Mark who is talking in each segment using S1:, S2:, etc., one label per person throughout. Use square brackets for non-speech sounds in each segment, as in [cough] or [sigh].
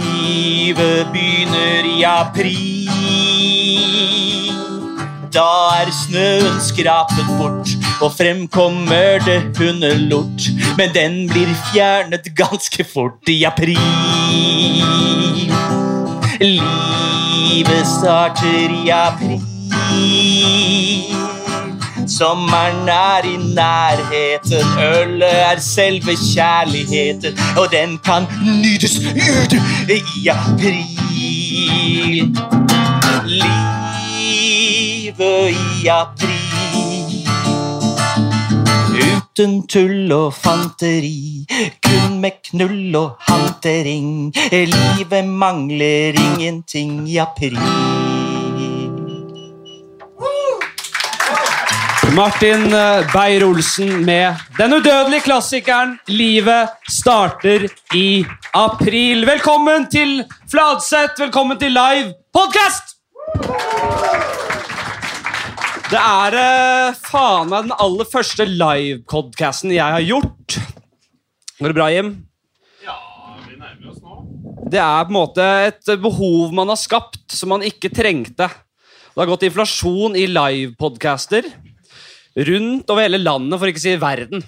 S1: Livet begynner i april. Da er snøen skrapet bort, og frem kommer det hundelort. Men den blir fjernet ganske fort i april. Livet starter i april. Sommeren er i nærheten, ølet er selve kjærligheten, og den kan nytes ute i april. Livet i april. Uten tull og fanteri, kun med knull og hantering. Livet mangler ingenting i april.
S2: Martin eh, Beyer-Olsen med den udødelige klassikeren 'Livet starter i april'. Velkommen til Fladseth, velkommen til live podkast! Det er eh, faen meg den aller første livepodkasten jeg har gjort. Går det bra, Jim? Det er på en måte et behov man har skapt som man ikke trengte. Det har gått inflasjon i livepodcaster rundt over hele landet, for ikke å si verden.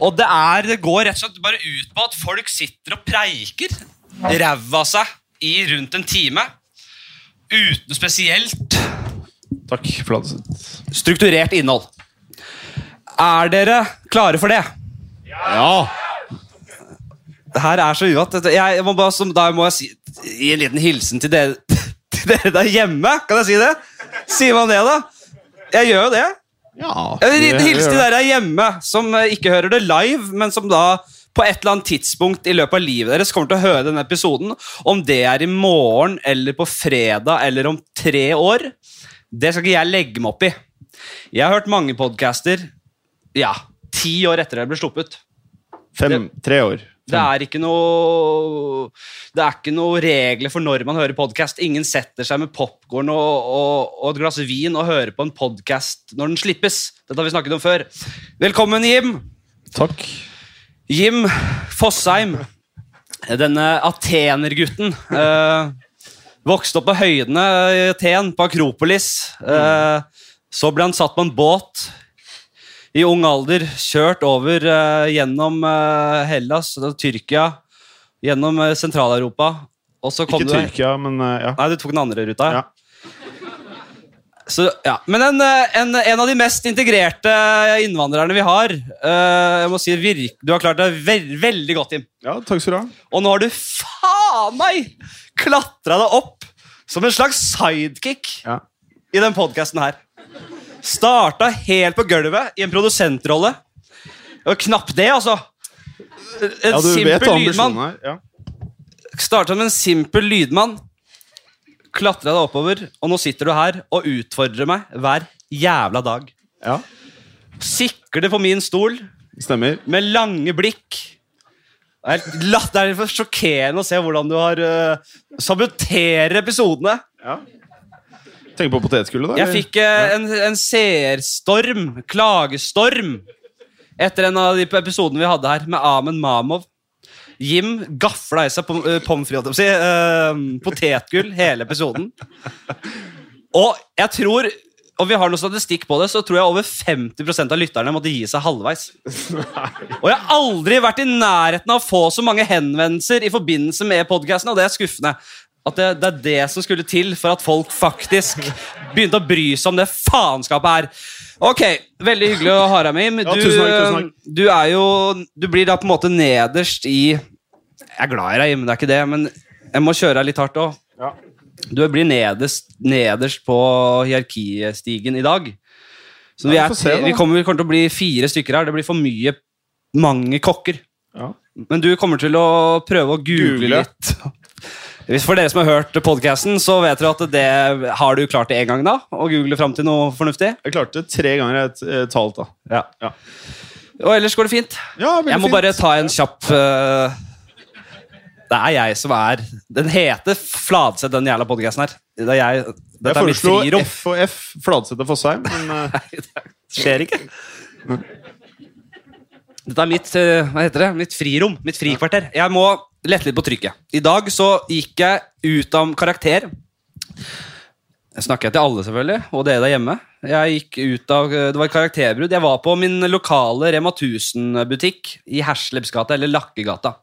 S2: Og det, er, det går rett og slett bare ut på at folk sitter og preiker ræva av seg i rundt en time. Uten spesielt
S3: Takk, Fladseth.
S2: strukturert innhold. Er dere klare for det?
S3: Ja!
S2: Det her er så uvant. Dette- Jeg må bare, som, da må jeg si, gi en liten hilsen til dere, [laughs] til dere der hjemme. Kan jeg si det? Sier man det, da? Jeg gjør jo det.
S3: Ja,
S2: En
S3: vi-
S2: liten
S3: vi
S2: hilsen
S3: gjør
S2: til
S3: det.
S2: dere hjemme som eh, ikke hører det live, men som da på et eller annet tidspunkt i løpet av livet deres kommer til å høre denne episoden. Om det er i morgen eller på fredag eller om tre år, det skal ikke jeg legge meg opp i. Jeg har hørt mange podcaster ja, ti år etter det ble sluppet.
S3: Fem, tre år.
S2: Det er ikke noe Det er ikke noe regler for når man hører podkast. Ingen setter seg med popkorn og, og, og et glass vin og hører på en podkast når den slippes. Dette har vi snakket om før. Velkommen, Jim.
S3: Takk.
S2: Jim Fosheim. Denne atenergutten. Eh, vokste opp på høydene i Aten, på Akropolis. Eh, så ble han satt på en båt i ung alder, kjørt over eh, gjennom eh, Hellas, da Tyrkia, gjennom eh, Sentral-Europa. Og så kom
S3: Ikke
S2: du
S3: Tyrkia, men eh, ja.
S2: Nei, du tok den andre ruta.
S3: ja.
S2: Så, ja. Men en, eh, en, en av de mest integrerte innvandrerne vi har. eh, jeg må si virk, Du har klart deg ve- veldig godt, Jim.
S3: Ja, takk skal du ha.
S2: Og nå har du faen meg klatra deg opp som en slags sidekick
S3: Ja.
S2: i den podkasten her. Starta helt på gulvet i en produsentrolle. Og knapt det, altså. En
S3: ja, du vet
S2: simpel lydmann.
S3: ambisjonen her. Ja.
S2: Starta med en simpel lydmann. Klatra deg oppover, og nå sitter du her og utfordrer meg hver jævla dag.
S3: ja,
S2: Sikler på min stol
S3: stemmer.
S2: med lange blikk. Det er helt latt- det er sjokkerende å se hvordan du har eh, saboterer episodene.
S3: Ja. Tenker på potetgullet, da?
S2: Jeg
S3: eller?
S2: fikk eh, en, en seerstorm, klagestorm, etter en av de episodene vi hadde her, med Amen Mamov. Jim gafla i seg pom- eh, pommes frites, holdt jeg på å si, eh, potetgull hele episoden. Og jeg tror, og vi har noe statistikk på det, så tror jeg over 50 av lytterne måtte gi seg halvveis. Og jeg har aldri vært i nærheten av å få så mange henvendelser i forbindelse med podkasten, og det er skuffende. At det, det er det som skulle til for at folk faktisk begynte å bry seg om det faenskapet her. Ok, Veldig hyggelig å ha deg med, Jim. Du, eh,
S3: Ja, tusen takk, tusen takk.
S2: du er jo Du blir da på en måte nederst i Jeg er glad i deg, Jim, det er ikke det, men jeg må kjøre deg litt hardt òg.
S3: Ja.
S2: Du blir nederst, nederst på hierarkistigen i dag. Så vi, er,
S3: Ja, vi får se,
S2: tre-
S3: da.
S2: vi, kommer, vi kommer til å bli fire stykker her. Det blir for mye mange kokker.
S3: Ja.
S2: Men du kommer til å prøve å google,
S3: Google.
S2: litt. Hvis For dere som har hørt podkasten, så vet dere at det har du klart det én gang, da? Å google fram til noe fornuftig?
S3: Jeg klarte det tre ganger et, et halvt, da.
S2: Ja.
S3: Ja.
S2: Og ellers går det fint.
S3: Ja, veldig
S2: Jeg må
S3: fint.
S2: bare ta en kjapp eh, Det er jeg som er Den heter Fladseth, den jævla podkasten her. Det er jeg,
S3: Jeg
S2: dette er mitt
S3: foreslo
S2: frirom.
S3: F og F, Fladseth og Fossheim, men eh,
S2: Skjer ikke. Dette er mitt, eh, hva heter det? mitt frirom, mitt frikvarter. Jeg må lette litt på trykket. I dag så gikk jeg ut av karakter. Jeg snakker til alle, selvfølgelig, og dere der hjemme. Jeg gikk ut av, eh, Det var et karakterbrudd. Jeg var på min lokale Rema 1000-butikk i Herslebsgata, eller Lakkegata.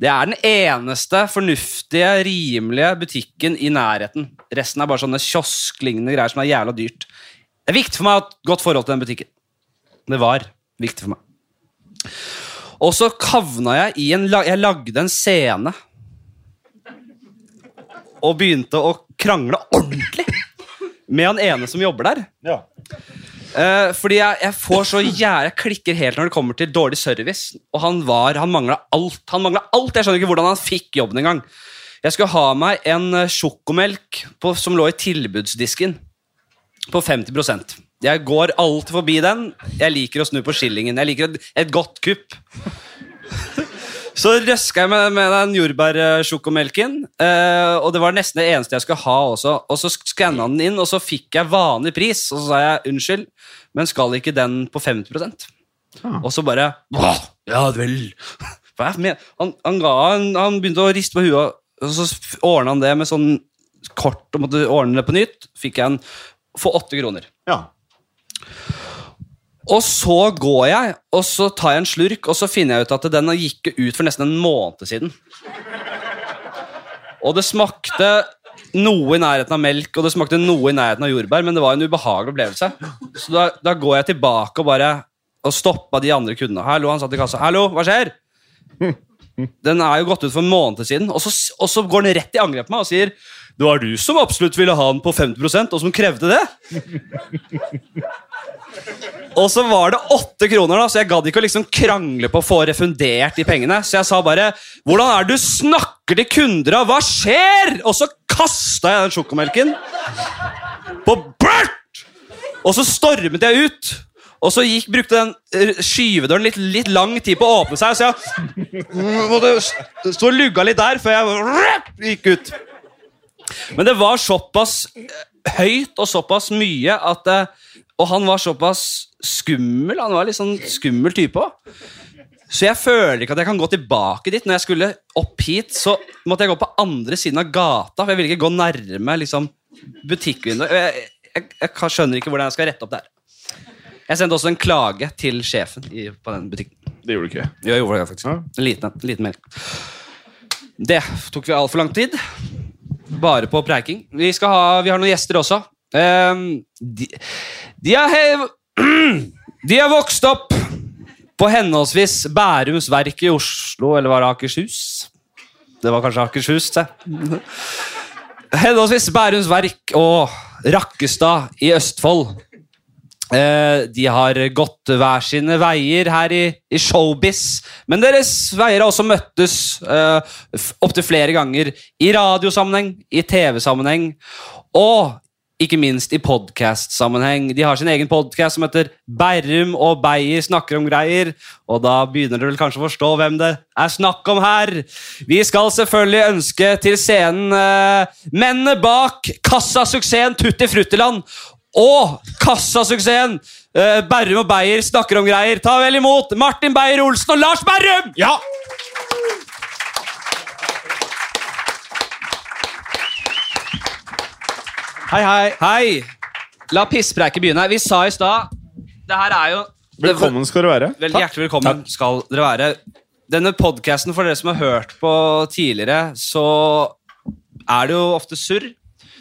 S2: Det er den eneste fornuftige, rimelige butikken i nærheten. Resten er bare sånne kiosklignende greier som er jævla dyrt. Det er viktig for meg å ha et godt forhold til den butikken. Det var viktig for meg. Og så kavna jeg i en la- Jeg lagde en scene. Og begynte å krangle ordentlig med han ene som jobber der.
S3: Ja.
S2: Eh, fordi jeg, jeg får så jævla Jeg klikker helt når det kommer til dårlig service. Og han var Han mangla alt. Han manglet alt Jeg skjønner ikke hvordan han fikk jobben engang. Jeg skulle ha meg en eh, sjokomelk på, som lå i tilbudsdisken på 50 Jeg går alltid forbi den. Jeg liker å snu på skillingen. Jeg liker et, et godt kupp. Så røska jeg med, med den jordbærsjokomelken, eh, og det var nesten det eneste jeg skulle ha også. Og så skanna den inn, og så fikk jeg vanlig pris. Og så sa jeg unnskyld, men skal ikke den på 50 Og så bare «Åh, Ja vel. [laughs] Hva er det med- Han, han, ga, han, han begynte å riste på huet, og så ordna han det med sånn kort og måtte ordne det på nytt. Fikk jeg en for åtte kroner.
S3: ja.
S2: Og så går jeg, og så tar jeg en slurk, og så finner jeg ut at den gikk ut for nesten en måned siden. Og det smakte noe i nærheten av melk, og det smakte noe i nærheten av jordbær, men det var en ubehagelig opplevelse. Så da, da går jeg tilbake og bare og stoppa de andre kundene. Hallo, han satt i kassa. Hallo, hva skjer? Den er jo gått ut for en måned siden, og så, og så går den rett i angrep på meg og sier det var du som absolutt ville ha den på 50 og som krevde det. Og så var det åtte kroner, da, så jeg gadd ikke å liksom krangle på å få refundert de pengene. Så jeg sa bare 'Hvordan er det du snakker til kunder, da? Hva skjer?' Og så kasta jeg den sjokomelken på Bert! Og så stormet jeg ut. Og så gikk, brukte den eh, skyvedøren litt, litt lang tid på å åpne seg, så jeg måtte st- stå og lugga litt der før jeg gikk ut. Men det var såpass eh, høyt og såpass mye at eh, Og han var såpass skummel. Han var litt sånn skummel type òg. Så jeg føler ikke at jeg kan gå tilbake dit. Når jeg skulle opp hit, så måtte jeg gå på andre siden av gata, for jeg ville ikke gå nærme liksom, butikkvinduet. Jeg, jeg, jeg, kan- skjønner ikke hvordan jeg skal rette opp det her. Jeg sendte også en klage til sjefen i, på den butikken.
S3: Det gjorde du ikke.
S2: Jo, jeg gjorde det faktisk.
S3: Ja.
S2: En liten en. en liten melding. Det tok vi altfor lang tid. Bare på preiking. Vi, skal ha, vi har noen gjester også. Ehm, de, de, er hev, [clears throat] de er vokst opp på henholdsvis Bærums Verk i Oslo, eller var det Akershus? Det var kanskje Akershus, se. Henholdsvis Bærums Verk og Rakkestad i Østfold. Eh, de har gått hver sine veier her i, i showbiz, men deres veier har også møttes eh, f- opptil flere ganger i radiosammenheng, i TV-sammenheng og ikke minst i podcast-sammenheng. De har sin egen podcast som heter Berrum og Beyer snakker om greier, og da begynner dere vel kanskje å forstå hvem det er snakk om her. Vi skal selvfølgelig ønske til scenen eh, mennene bak kassasuksessen Tutti Fruttiland og kassasuksessen eh, Berrum og Beyer snakker om greier. Ta vel imot Martin Beyer-Olsen og Lars Berrum!
S3: Ja!
S2: Hei, hei. Hei. La pisspreiket begynne. Vi sa i stad Det her er jo
S3: Velkommen skal du være.
S2: Veldig hjertelig velkommen skal dere være. Denne podkasten, for dere som har hørt på tidligere, så er det jo ofte surr.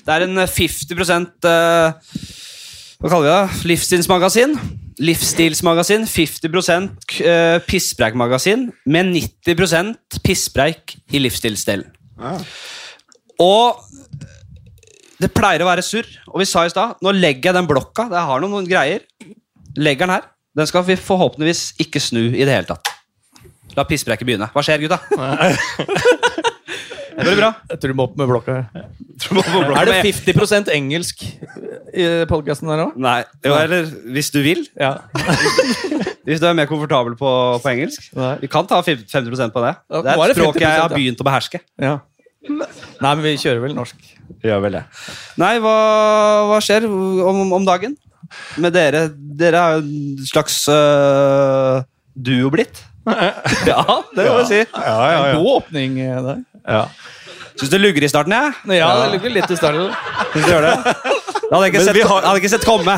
S2: Det er en 50 eh, Hva kaller vi det? Livsstilsmagasin. Livsstilsmagasin. 50 k- eh, pisspreikmagasin, med 90 pisspreik i livsstilsdelen.
S3: Ja.
S2: Og det pleier å være surr. Og vi sa i stad nå legger jeg den blokka. Jeg har noen, noen greier. Legger den her. Den skal vi forhåpentligvis ikke snu i det hele tatt. La pisspreken begynne. Hva skjer, gutta? [laughs] Går det bra?
S4: Jeg tror du må opp med blokka. her.
S2: Er
S4: Er det 50 engelsk i podkasten her òg?
S2: Nei. Jo, eller hvis du vil.
S4: Ja.
S2: Hvis du er mer komfortabel på, på engelsk.
S4: Nei.
S2: Vi kan ta 50 på det.
S4: Ja,
S2: Det
S4: nå
S2: er
S4: er
S2: et
S4: det
S2: språk jeg har
S4: 50%, ja.
S2: begynt å beherske.
S4: ja. Nei, men vi kjører vel norsk.
S3: Gjør vel det.
S2: Nei, hva, hva skjer om, om dagen med dere? Dere er jo en slags øh, duo blitt. Ja, det må jeg si.
S3: Ja, ja, ja.
S4: God åpning eh, der.
S3: ja.
S2: Syns det lugger i starten, jeg.
S4: Ja, det ligger litt i starten.
S2: Synes du gjør det? Det hadde jeg ikke,
S3: Men
S2: sett,
S3: vi har-
S2: jeg hadde ikke sett komme.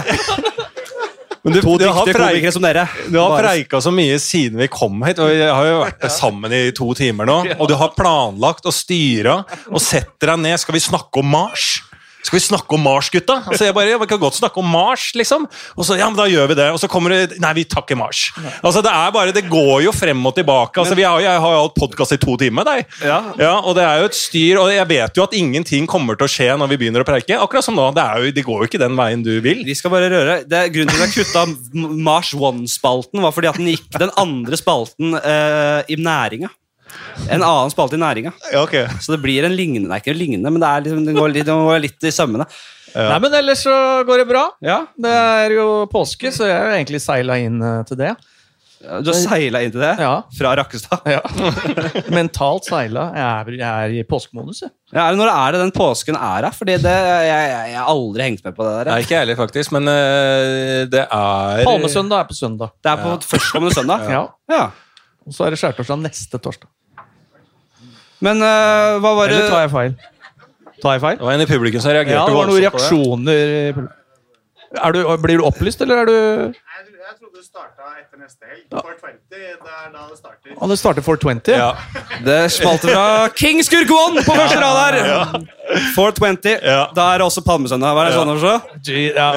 S3: Men du,
S2: To
S3: du har
S2: dyktige
S3: preik-
S2: komikere som dere.
S3: du har
S2: Bare-
S3: preika så mye siden vi kom hit, og vi har jo vært sammen i to timer nå. Og du har planlagt og styra og setter deg ned. Skal vi snakke om Mars? Skal vi snakke om Mars, gutta? Altså jeg bare, jeg kan godt snakke om Mars, liksom. Og så, ja, men da gjør vi det. Og så kommer det Nei, vi tar ikke Mars. Altså Det er bare, det går jo frem og tilbake. Altså vi har, Jeg har jo hatt podkast i to timer med deg.
S2: Ja.
S3: Og det er jo et styr, og jeg vet jo at ingenting kommer til å skje når vi begynner å preike. Akkurat som nå. Det, er jo, det går jo ikke den veien du vil.
S2: Vi skal bare røre. Det er grunnen til at jeg kutta M- Mars One-spalten, var fordi at den gikk den andre spalten eh, i næringa. En annen spalte i næringa.
S3: Ja, ok.
S2: Så det blir en lignende. Det er ikke en lignende, men det er liksom, den, går litt, den går litt i sømmene.
S4: Nei, men ellers så går det bra.
S2: Ja,
S4: Det er jo påske, så jeg er jo egentlig seila inn eh, til det.
S2: Du har seila inn til det
S4: Ja.
S2: fra Rakkestad.
S4: Ja. [laughs] Mentalt seila. Jeg er, jeg er i påskemodus, jeg.
S2: Ja, eller når er det den påsken er her? Fordi det, jeg, jeg, jeg har aldri hengt med på det der.
S3: Nei,
S2: jeg.
S3: ikke jeg heller, faktisk, men eh, det er
S4: Palmesøndag er på søndag.
S2: Det er på førstkommende søndag.
S4: Ja.
S2: Ja.
S4: Og så er det skjærtorsdag neste torsdag.
S2: Men eh, hva var det
S4: Eller tar jeg feil? Tar jeg feil?
S3: Det var en i publikum som reagerte
S4: Ja, det var noen
S3: voldsomt på det.
S4: reaksjoner er du, Blir du opplyst, eller er du
S5: Jeg, jeg trodde det starta etter neste helg. 4.20, det er da det starter.
S4: Han starter 420?
S3: Ja,
S2: Det smalt fra King Skurk One på første rad her! 420.
S3: Ja.
S2: Da er det også Palmesøndag. Hva er det sånn også?
S4: Gee, ja.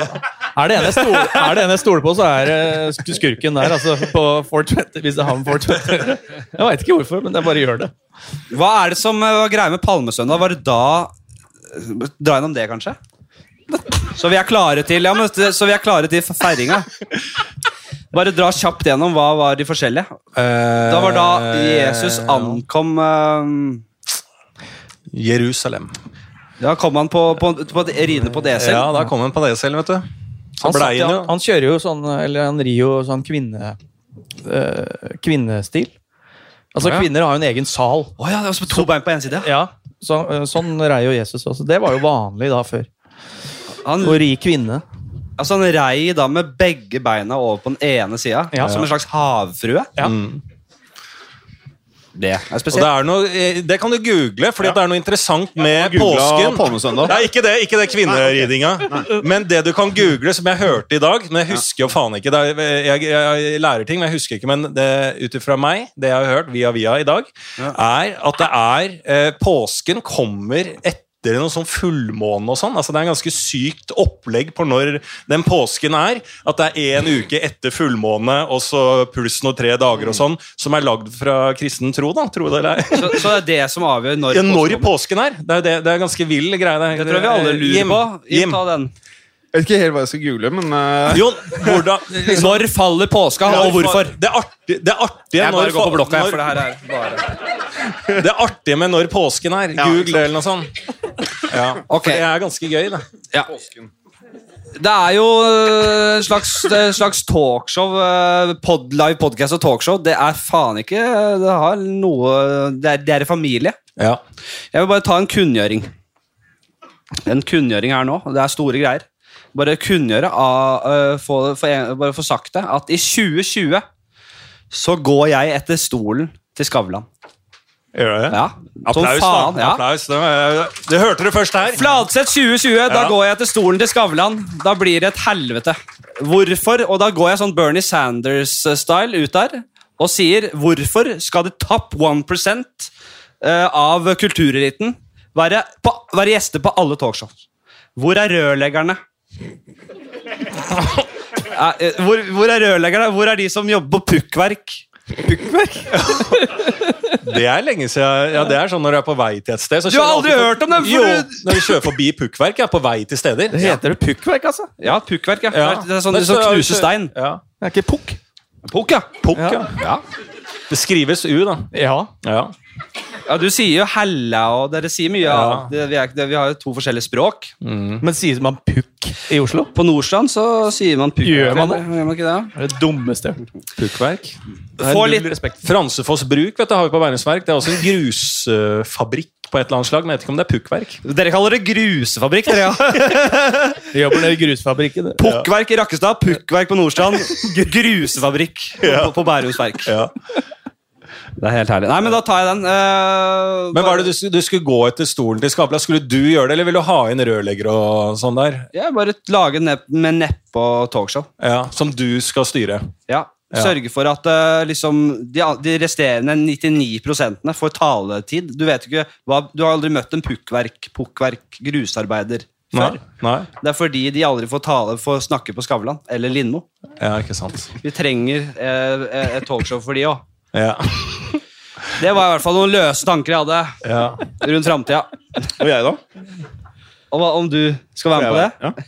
S4: Er det ene jeg stoler er det ene jeg stoler på, så er det sk- skurken der, altså. På 420, hvis det har med 420 Jeg veit ikke hvorfor, men jeg bare gjør det.
S2: Hva er det som eh, var greia med Palmesøndag? Var det da eh, Dra gjennom det, kanskje? Så vi er klare til ja, men, Så vi er klare til feiringa. Bare dra kjapt gjennom hva var de forskjellige. Da var da
S3: Eh,
S2: Jesus ankom eh,
S3: Jerusalem.
S2: Da kom han på, på, på ridende på desel.
S3: Ja, da kom han på det selv, vet du. Så
S4: Han,
S3: blei
S4: satt,
S3: han jo
S4: han, han kjører jo sånn Eller han rir jo sånn kvinne, eh, kvinnestil. Altså,
S3: Å, ja.
S4: kvinner har jo en egen sal.
S2: Å ja, det var som to bein på én side. ja.
S4: Ja, så, eh, Sånn rei jo Jesus også. Det var jo vanlig da før.
S2: Han,
S4: Å ri kvinne.
S2: altså, han rei da med begge beina over på den ene sida,
S4: Ja.
S2: som en slags havfrue. Det
S4: Ja.
S2: er
S3: Mm. og det,
S2: spesielt.
S3: er noe, eh, det kan du google, fordi det er noe interessant med
S6: Googlet
S3: påsken.
S6: Palmesøndag.
S3: Nei, ikke det, ikke det kvinneridinga. Men det du kan google, som jeg hørte i dag Men jeg husker jo faen ikke det er, jeg, jeg, jeg lærer ting, men jeg husker ikke. Men ut ifra meg, det jeg har hørt via via i dag, er at det er eh, Påsken kommer etter noen sånn fullmåne og sånn. Altså Det er en ganske sykt opplegg på når den påsken er. At det er én uke etter fullmåne og så pluss noen tre dager og sånn, som er lagd fra kristen tro, da. Tro det eller ei.
S2: Så, så det er det som avgjør når
S3: Ja, når
S2: påsken kommer.
S3: påsken er. Det er, jo det, det er ganske vill greie. Det,
S2: Det tror jeg vi alle lurer
S3: Eh, Jim,
S2: på.
S3: Jim.
S2: Jim. Ta den.
S6: Jeg vet ikke helt hva jeg skal google, men eh,
S3: Jon, hvordan
S2: Når faller påska, og hvorfor?
S3: Det artige, det artige,
S2: Jeg
S3: når,
S2: bare går på blokka, jeg, for
S3: når,
S2: det her er bare
S3: det artige med når påsken er.
S6: Ja,
S3: Google
S6: ikke sant.
S3: det eller noe sånt. [laughs] Ja,
S2: Ok.
S3: for Det er ganske gøy, det.
S2: Det er jo øh, en slags, det er en slags talkshow. øh, Pod, live podcast og talkshow. Det er faen ikke øh, Det har noe Det er, det er i familie.
S3: Ja.
S2: Jeg vil bare ta en kunngjøring. En kunngjøring her nå. Det er store greier. Bare kunngjøre, av, øh, få, få, en- bare få sagt det, at i 2020 så går jeg etter stolen til Skavlan.
S3: Gjør det?
S2: Ja. Som
S3: Applaus,
S2: Sånn faen,
S3: da.
S2: ja.
S3: Applaus. Det, var- det hørte du først her.
S2: Fladseth 2020, da
S3: Ja.
S2: går jeg etter stolen til Skavlan. Da blir det et helvete. Hvorfor? Og da går jeg sånn Bernie Sanders-style ut der og sier hvorfor skal det topp 1 eh, av kultureliten være, på, være gjester på alle talkshow? Hvor er rørleggerne? Eh, eh, Hvor, hvor er rørleggerne? Hvor er de som jobber på pukkverk?
S3: Det er lenge siden. Ja, det er sånn når du er på vei til et sted. Så
S2: Du har
S3: kjører
S2: aldri
S3: alltid
S2: hørt om dem, for
S3: Jo,
S2: du-
S3: når du kjører forbi pukkverk, jeg er på vei til steder.
S4: Det heter det pukkverk, altså.
S2: Ja, pukkverk. Ja.
S3: Ja.
S2: Det er sånn de som
S3: så-
S2: knuser stein.
S3: Ja.
S4: Det er ikke pukk.
S2: Pukk, ja.
S3: Pukk, ja. Det skrives U, da.
S4: Ja.
S3: Ja.
S2: Ja, Du sier jo 'hella', og dere sier mye. Ja. Det, vi, er, ikke- det, vi har jo to forskjellige språk.
S4: Men sier man pukk i Oslo?
S2: På Nordstrand så sier man pukk.
S4: Gjør man det?
S2: Gjør man ikke det?
S4: Det er det dummeste jeg har hørt.
S3: Pukkverk.
S2: Få litt
S3: Fransefoss Bruk vet du, har vi på Bærums Verk. Det er også en grusfabrikk på et eller annet slag, men jeg vet ikke om det er pukkverk.
S2: Dere kaller det grusefabrikk, dere, ja.
S4: De jobber nede i grusfabrikken. det.
S2: Pukkverk i Rakkestad, pukkverk på
S3: [laughs]
S2: Nordstrand, gr- grusefabrikk på, på Bærums Verk. Det er helt herlig. Nei, men da tar jeg den. eh,
S3: Men hva er det du, du skulle gå etter stolen til Skapla? Skulle du gjøre det, eller vil du ha inn rørlegger og sånn der?
S2: Ja, bare lage nepp, med nepp og talkshow.
S3: Ja, Som du skal styre?
S2: Ja. Sørge for at eh, liksom, de, an- de resterende 99 får taletid. Du vet ikke, hva, du har aldri møtt en pukkverk, pukkverk grusarbeider før.
S3: Nei? Nei?
S2: Det er fordi de aldri får tale får snakke på Skavlan eller Lindmo.
S3: Ja, ikke sant.
S2: Vi trenger eh, eh, et talkshow for de òg.
S3: Ja.
S2: Det var i hvert fall noen løse tanker jeg hadde
S3: ja.
S2: rundt framtida.
S6: Og jeg, da?
S2: Og hva om du skal være med på det?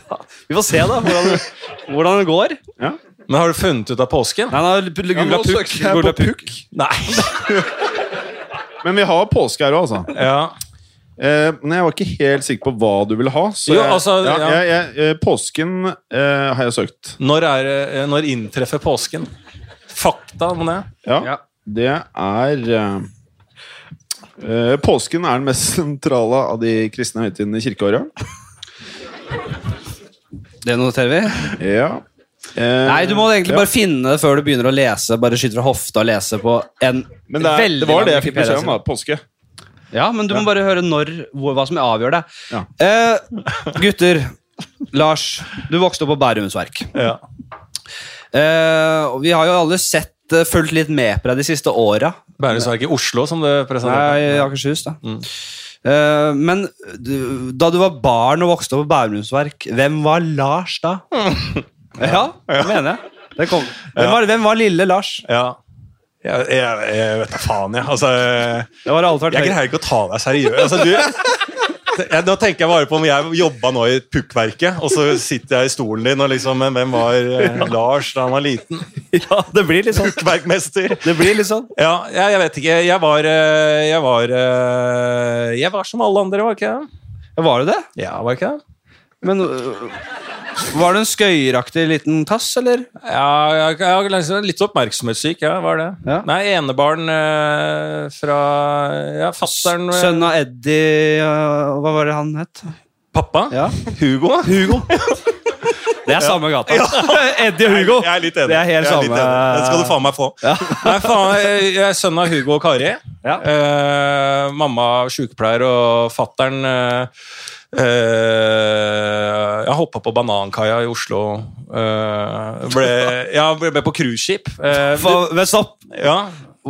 S6: Ja.
S2: Vi får se da, hvordan, det- hvordan det går.
S3: Men har du funnet ut av påsken?
S2: Nei, nå har jeg googlet
S6: nå
S2: pukk.
S6: søker jeg på
S2: googlet pukk.
S6: pukk.
S3: Nei.
S6: Men vi har påske her òg, altså.
S3: Ja.
S6: Eh, men jeg var ikke helt sikker på hva du ville ha. Så
S3: Jo,
S6: jeg,
S3: altså,
S6: ja,
S3: ja.
S6: Jeg, jeg, eh, påsken eh, har jeg søkt.
S3: Når, er, det- når inntreffer påsken? Fakta om det?
S6: Ja,
S2: Ja.
S6: det er eh, eh, Påsken er den mest [laughs] sentrale av de kristne høytidene i kirkeåret.
S2: Det noterer vi.
S6: Ja. Eh,
S2: Nei, du må egentlig
S6: ja.
S2: bare finne det før du begynner å lese. Bare skyte fra hofta og lese på en
S6: Men det, er,
S2: veldig
S6: det var
S2: lang
S6: det jeg fikk beskjed om,
S2: Wikipedia-side.
S6: da. Påske.
S2: Ja, men du må bare høre når, hvor, hva som avgjør det.
S6: Ja.
S2: Eh, gutter. Lars, du vokste opp på Bærums Verk.
S3: Ja.
S2: Eh, og vi har jo alle sett, eh, fulgt litt med på deg de siste åra.
S3: Bærumsverket i Oslo, som du presenterte.
S2: Nei, i Akershus, da.
S6: Mm.
S2: Eh, men du, da du var barn og vokste opp på Bærums Verk, hvem var Lars da?
S6: [laughs]
S2: ja, det mener jeg. Det kom. Hvem, var, hvem var lille Lars?
S3: Ja. Jeg, jeg, jeg vet da faen, jeg. Altså,
S2: Det var alt vært
S3: jeg greier ikke å ta deg seriøst. Altså, du, jeg, nå tenker jeg bare på om jeg jobba nå i pukkverket, og så sitter jeg i stolen din og liksom Men hvem var eh, Lars da han var liten?
S2: Ja, det blir litt sånn.
S3: Pukkverkmester.
S2: Det blir litt sånn.
S3: Ja, jeg, jeg vet ikke. Jeg var eh, Jeg var, eh, jeg var som alle andre, var ikke jeg?
S2: Var du det?
S3: Ja, var ikke jeg?
S2: Men øh, Var du en skøyeraktig liten tass, eller?
S3: Ja, jeg, jeg, er liksom litt oppmerksomhetssyk, ja, var det.
S2: Ja.
S3: Nei, enebarn eh, fra ja, fattern eh,
S2: Sønn av Eddie øh, Hva var det han het?
S3: Pappa?
S2: Ja.
S3: Hugo?
S2: Hugo. Det er samme gata. Eddie og Hugo.
S3: Jeg er litt enig.
S2: Det er helt
S3: jeg er litt
S2: samme.
S3: enig. Den skal du faen meg få. [laughs] Nei, faen, jeg jeg er sønn av Hugo og Kari.
S2: Ja.
S3: Eh, mamma er sykepleier, og fattern eh, eh, Jeg hoppa på Banankaia i Oslo. Eh, ble, ja, ble, ble på cruiseskip. Eh,
S2: For, men stopp.
S3: ja,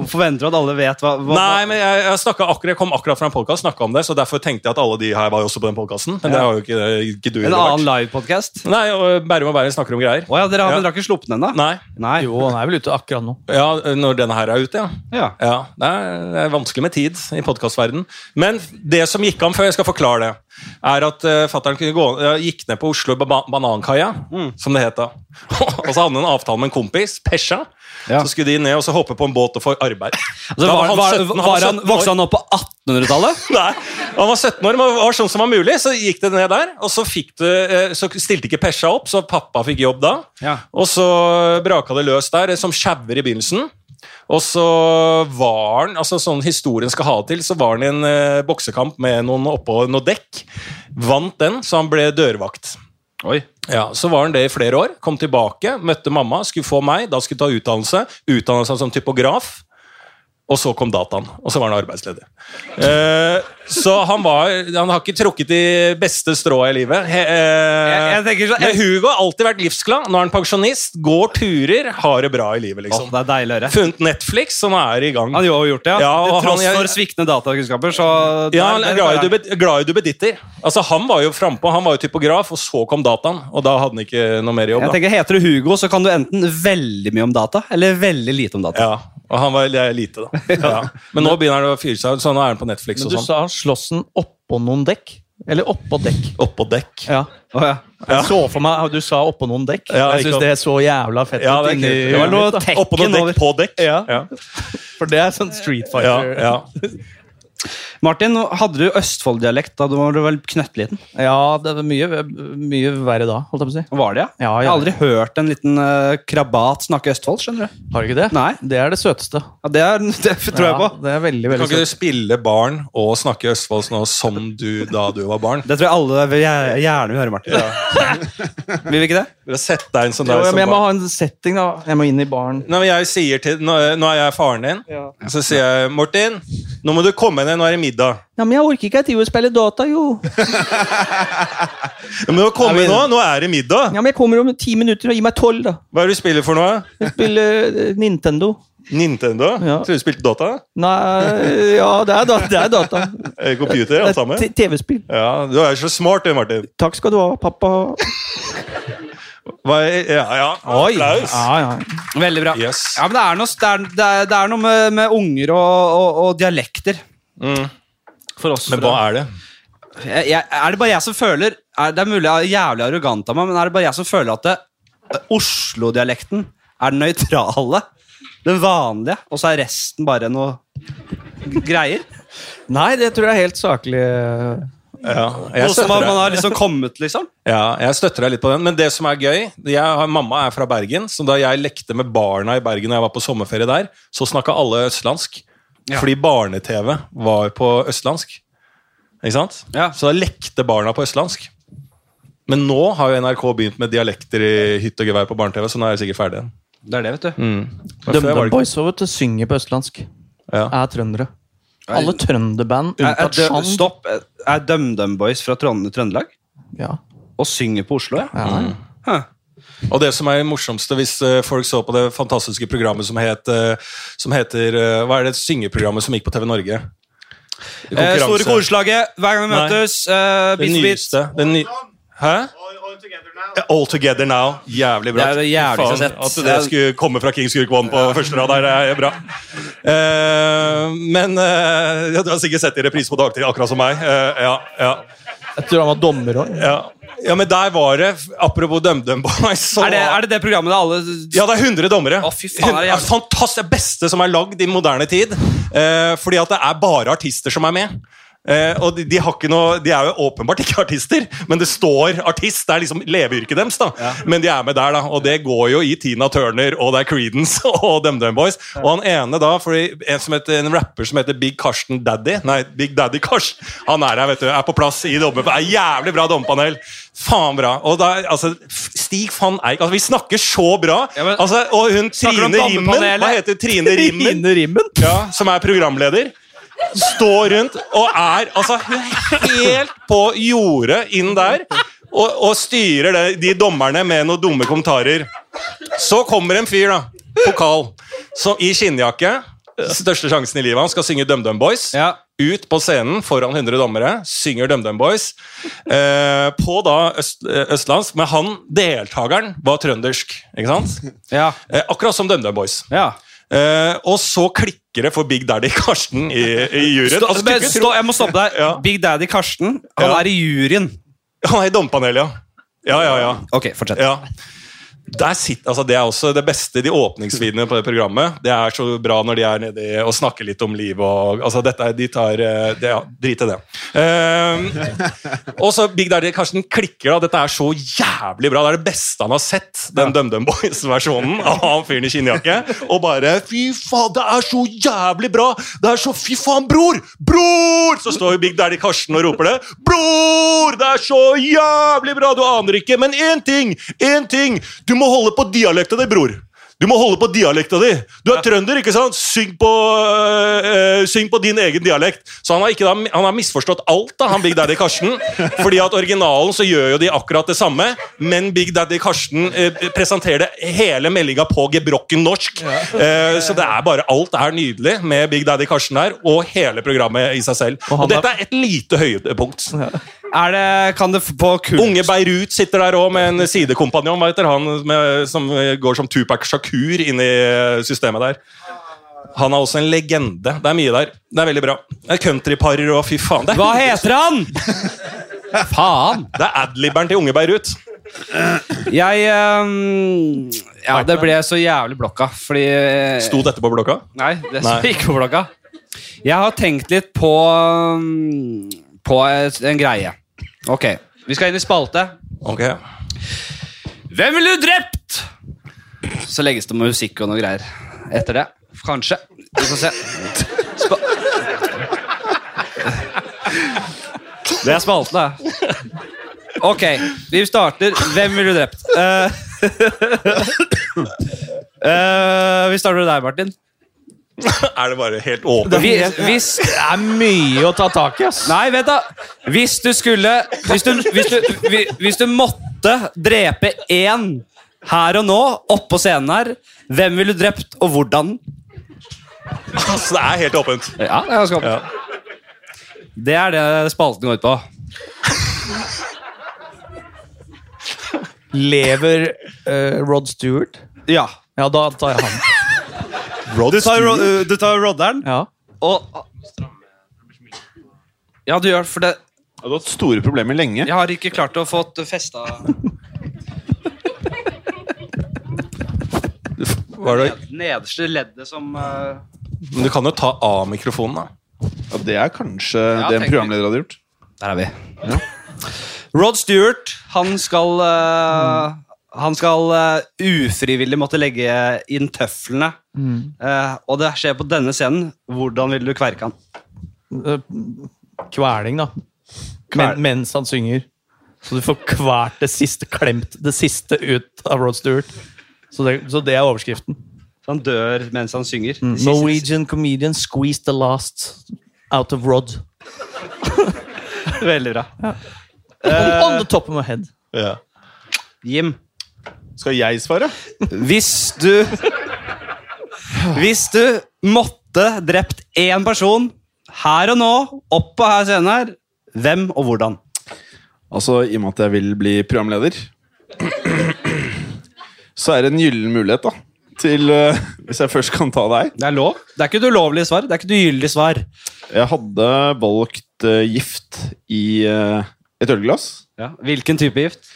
S2: Forventer du at alle vet hva, hva
S3: Nei, men jeg, jeg, snakket akkurat, jeg kom akkurat fra en podcast, snakket om det, så derfor tenkte jeg at alle de her var jo også på den podcasten. Men det har jo ikke, ikke du
S2: En
S3: Robert.
S2: annen livepodkast?
S3: Nei, og Bærum og Bærum snakker om greier.
S2: Å ja, dere har,
S3: Ja.
S2: men dere har ikke sluppet den ennå?
S3: Nei,
S2: Nei.
S4: Jo, han er vel ute akkurat nå.
S3: ja, når denne her er ute, ja.
S2: Ja.
S3: Ja, det er, det er vanskelig med tid i podcastverden. Men det som gikk an før, jeg skal forklare det, er at uh, fatteren kunne gå, eh, gikk ned på Oslo ba Banankaja,
S2: Mm.
S3: som det heter. [laughs] og så hadde han en avtale med en kompis, Pesha.
S2: Ja.
S3: Så skulle de ned og så hoppe på en båt og få arbeid.
S2: Altså,
S3: Da
S2: var,
S3: han
S2: var,
S3: 17, han
S2: var han,
S3: 17 år.
S2: vokste han opp på 1800-tallet?
S3: [laughs] Nei, Han var 17 år, men var sånn som var mulig. Så gikk det ned der, og så, fikk det, eh, så stilte ikke Pesja opp, så pappa fikk jobb da.
S2: Ja.
S3: Og så braka det løs der, eh, som sjauer i begynnelsen. Og så var han, altså sånn historien skal ha det til, så var han i en eh, boksekamp med noen oppå noe dekk. Vant den, så han ble dørvakt.
S2: Oi.
S3: Ja, Så var han det i flere år. Kom tilbake, møtte mamma, skulle få meg. Da skulle jeg ta utdannelse. Utdanna seg som typograf. Og så kom dataen, og så var han arbeidsledig. Eh, så han, var, han har ikke trukket de beste stråa i livet. He, eh,
S2: Jeg- jeg tenker så-
S3: men Hugo har alltid vært livsglad. Nå er han pensjonist, går turer, har det bra i livet.
S2: Åh, Sånn,
S3: liksom.
S2: det er deilig å høre.
S3: Funnet Netflix, så nå er det i gang.
S2: Han jo har gjort det, ja.
S3: Ja, og
S2: Til tross
S3: han- jeg-
S2: for sviktende datakunnskaper, så
S3: Ja,
S2: der-
S3: han er
S2: der-
S3: glad i dubbe- glad i duppeditter. Altså, han var jo frampå, han var jo typograf, og så kom dataen. Og da hadde han ikke noe mer jobb.
S2: Jeg
S3: da.
S2: tenker, Heter du Hugo, så kan du enten veldig mye om data, eller veldig lite om data.
S3: Ja, og han var det er lite, da. Ja. Men nå begynner han å fyre seg ut, så nå er han på Netflix
S4: Men
S3: og
S4: du
S3: sånn.
S4: sa han sloss den oppå noen dekk? Eller oppå dekk?
S3: Oppå dekk.
S4: Ja.
S2: Å, ja.
S3: Ja.
S4: Jeg så for meg Du sa oppå noen dekk.
S3: Ja,
S4: jeg
S3: ikke
S4: syns
S3: sant.
S4: det er så jævla fett
S3: Ja,
S4: ut.
S3: det er
S4: inni
S3: kult.
S2: Det var
S4: huet mitt,
S2: noe
S4: da.
S3: Oppå noen
S2: tekken
S3: dekk,
S2: over.
S3: på dekk.
S4: Ja,
S3: Ja.
S4: For det er sånn Street
S3: Ja,
S4: Fighter.
S3: ja.
S2: Martin, hadde du Østfold-dialekt da du var vel knøttliten?
S4: Ja, det var mye, mye verre da, holdt jeg på å si.
S2: Var det,
S4: Ja,
S2: Jeg
S4: ja.
S2: har aldri hørt en liten eh, krabat snakke Østfold, skjønner du.
S4: Har du ikke det?
S2: Nei.
S4: Det er det søteste.
S2: Ja, det, er, [laughs] det tror jeg på.
S4: Ja, det er veldig,
S3: Kan
S2: liksom-
S4: veldig
S3: ikke du
S4: søtt.
S3: spille barn og snakke Østfolds nå som du da du var barn?
S2: Det tror jeg alle vil gjer- gjerne vil høre, Martin. vil vi ikke det?
S3: Dere setter deg inn som
S4: Jo,
S3: deg som
S4: men jeg må
S3: barn.
S4: ha en setting, da. Jeg må inn i baren.
S3: Når jeg sier til, nå, nå er jeg faren din, så sier jeg 'Martin, nå må du komme ned, nå er det middag'.
S4: Ja, men jeg orker ikke, jeg driver og spiller data, jo.
S3: Ja, men nå kommer nå, nå er det middag!
S4: Ja, men jeg kommer om ti minutter og gir meg tolv, da.
S3: Hva er det du spiller for
S4: [laughs]
S3: noe?
S4: Jeg spiller eh, Nintendo.
S3: Nintendo?
S4: Ja.
S3: Tror du du spilte Dota?
S4: Nei, ja, det er, da, det er data.
S3: Eh, Computer, alt sammen?
S4: Det er t- TV-spill.
S3: Ja, du er jo så smart du, Martin.
S4: Takk skal du ha, pappa.
S3: Hva, "Eh, ja, ja. Applaus.
S4: Ja, ja.
S2: Veldig bra.
S3: Yes.
S2: Ja, men det er noe, det er, det er, det er noe med, med unger og, og, og dialekter.
S3: Mm.
S2: For oss.
S3: Men hva er det?
S2: jeg, jeg, er det bare jeg som føler er, Det er mulig jeg er jævlig arrogant av meg, men er det bare jeg som føler at det- Oslo-dialekten er den nøytrale? Den vanlige, og så er resten bare noe greier?
S4: Nei, det tror jeg er helt saklig. eh,
S3: Ja,
S2: Noe
S3: jeg
S2: som
S3: støtter
S2: man
S3: deg.
S2: har liksom kommet, liksom?
S3: Ja, jeg støtter deg litt på den. Men det som er gøy jeg har, Mamma er fra Bergen, så da jeg lekte med barna i Bergen da jeg var på sommerferie der, så snakka alle østlandsk. Fordi barne-TV var på østlandsk. Ikke sant?
S2: Ja.
S3: Så da lekte barna på østlandsk. Men nå har jo NRK begynt med dialekter i hytt og gevær på barne-TV, så nå er jeg sikkert ferdig igjen.
S2: Det er det, vet
S4: Mm.
S2: du.
S3: Men før var
S4: DumDum
S3: det ikke-
S4: Boys og vet du, synger på østlandsk.
S3: Ja.
S4: Er trøndere. Alle trønderband
S2: Er, er,
S4: unntatt
S2: dø-
S4: Sjand.
S2: stopp. Er- Er DumDum Boys fra Trond Trøndelag?
S4: Ja.
S2: Og synger på Oslo, ja?
S4: Ja.
S2: Hæ.
S3: Og det som er det morsomste hvis eh, folk så på det fantastiske programmet som, het, eh, som heter eh, Hva er det syngeprogrammet som gikk på TV Norge?
S2: Eh, store
S3: Konkurranse.
S2: korslaget, hver gang vi
S3: Nei.
S2: møtes. Eh,
S3: Det
S2: bit, for bit.
S3: nyeste. Det ny Hæ?
S5: All, all together now.
S3: All Together Now. Jævlig bra.
S2: Det er det jævligste jeg har
S3: at
S2: sett.
S3: det skulle komme fra Kings Gurk One på første rad her, det er bra. Eh, men eh, ja, du har sikkert sett det i reprise på dagtid, akkurat som meg. Eh, ja, ja,
S4: Jeg tror han var dommer òg.
S3: ja. ja, men der var det Apropos DumDum Boys. så-
S2: Er det, er det det programmet der alle
S3: Ja, det er 100 dommere.
S2: Å, fy faen, det er
S3: det
S2: jævlig.
S3: fantastisk, det beste som er lagd i moderne tid. Eh, fordi at det er bare artister som er med. Eh, og de, de, har ikke noe, de er jo åpenbart ikke artister, men det står artist. Det er liksom leveyrket deres. da Men de er med der, da. Og det går jo i Tina Turner, og det er Creedence [laughs] og DumDum Boys. Og han ene da, fordi en, som heter, en rapper som heter Big Karsten Daddy Nei, Big Daddy Kars. Han er her, vet du. Er på plass i dommer. Er jævlig bra dommerpanel. Faen bra. Og da, altså, Stig van Eik altså, Vi snakker så bra.
S2: Ja, men-
S3: altså, og hun
S2: Snakker om
S3: Trine Rimmen,
S2: dommerpanelet.
S3: hva heter Trine [laughs] Rimmen?
S4: Rimmen.
S3: Ja, som er programleder. Står rundt og er altså helt på jordet inn der. Og, og styrer det, de dommerne med noen dumme kommentarer. Så kommer en fyr, da. Pokal. Som i skinnjakke. Største sjansen i livet. Han skal synge DumDum Boys
S2: Ja.
S3: ut på scenen foran 100 dommere, synger DumDum Boys eh, på da øst, eh, østlandsk, men han, deltakeren, var trøndersk, ikke sant?
S2: Ja.
S3: Eh, akkurat som DumDum Boys.
S2: ja.
S3: Eh, og så klikker det for Big Daddy Karsten i, i juryen.
S2: Stå,
S3: Altså, du
S2: men,
S3: ikke
S2: stå, jeg må stoppe deg.
S3: Ja.
S2: Big Daddy Karsten, han
S3: Ja.
S2: er i juryen.
S3: tro- Han er i dommerpanelet, ja. Ja, ja, ja.
S2: Ok, fortsett.
S3: Ja. Der sitter, altså det er også det beste, de åpningsvideoene på det programmet. Det er så bra når de er nedi og snakker litt om livet og altså dette, er- De tar eh, det, Ja, drit i det. Ehm, og så Big Daddy Karsten klikker, da. Dette er så jævlig bra. Det er det beste han har sett. Den DumDum Boys-versjonen av han fyren i skinnjakke. Og bare Fy faen, det er så jævlig bra! Det er så Fy faen, bror! Bror! Så står Big Daddy Karsten og roper det. Bror! Det er så jævlig bra! Du aner ikke, men én ting! Én ting! Du må holde på dialekta di, bror. Du må holde på dialekta di! Du er trønder, ikke sant? Syng på, øh, øh, syng på din egen dialekt. Så han har, ikke, da- han har misforstått alt, da, han Big Daddy Karsten. Fordi at originalen så gjør jo de akkurat det samme, men Big Daddy Karsten øh, presenterer det hele meldinga på gebrokken norsk. Eh, så det er bare alt er nydelig med Big Daddy Karsten her, og hele programmet i seg selv. Og,
S4: han er-
S3: dette er et lite høydepunkt.
S2: Er det, kan det f- på kult
S3: Unge Beirut sitter der òg med en sidekompanjong. Hva heter han med, som går som Tupac Shakur inn i systemet der? Han er også en legende. Det er mye der. Det er veldig bra. Det er Countryparer og fy faen. Det er,
S2: Hva heter
S3: [laughs]
S2: han?! Faen!
S3: det er adliberen til Unge Beirut.
S2: Jeg ehm, Ja, det ble så jævlig blokka, fordi
S3: Sto dette på blokka?
S2: [laughs] Nei, det sto
S3: Nei.
S2: ikke på blokka. Jeg har tenkt litt på mm, På et- en greie. Ok, vi skal inn i spalte.
S3: Ok.
S2: Hvem ville du drept? Så legges det med musikk og noe greier etter det. Kanskje. Vi får se.
S3: [laughs]
S2: Spa det er spalten, da. Ok, vi starter. Hvem ville du drept? Eh, [coughs] eh, vi starter med deg, Martin.
S3: Er det bare helt åpent?
S2: Vi, hvis
S4: Det er mye å ta tak i, ass.
S2: Nei, vent da. Hvis du skulle Hvis du, hvis du, hvi- hvis du måtte drepe én her og nå, oppå scenen her, hvem ville du drept, og hvordan?
S3: [laughs] Altså, det er helt åpent.
S2: Ja, Det er ganske åpent. Det er det spalten går ut på.
S4: Lever eh, Rod Stewart?
S2: Ja.
S4: Ja, da tar jeg han.
S2: Du tar, ro- uh, du tar rodderen,
S4: Ja.
S2: og Ja, du gjør det, for det.
S6: Du har hatt store problemer lenge.
S2: Jeg har ikke klart å få festa
S3: Hva er det?
S2: nederste leddet som eh,
S3: Men du kan jo ta av mikrofonen, da.
S6: Ja, det er kanskje
S2: Ja,
S6: det en
S2: tenker-
S6: programleder hadde gjort.
S2: Der er vi. Rod Stewart, han skal eh, Han skal eh, ufrivillig måtte legge inn tøflene. Eh, og det skjer på denne scenen. Hvordan ville du kverke han?
S4: Eh, Kveling, da.
S2: Kvel-
S4: Men, mens han synger. Så du får kvert det siste, klemt det siste ut av Rod Stewart. Så det, så det er overskriften.
S2: Så han dør mens han synger.
S4: Mm. Norwegian comedian squeezed the last out of Rod.
S2: Veldig bra.
S4: On, on the top of my head.
S2: Jim,
S6: Skal jeg svare?
S2: hvis du Hvis du måtte drept én person her og nå, opp på her scenen her, hvem og hvordan?
S6: Altså, i og med at jeg vil bli programleder, [clears throat] så er det en gyllen mulighet, da. Til eh, [laughs] Hvis jeg først kan ta deg.
S2: Det er lov. Det er ikke et ulovlig svar. Det er ikke et ugyldig svar.
S6: Jeg hadde valgt eh, gift i eh, et ølglass.
S2: Ja. Hvilken type gift?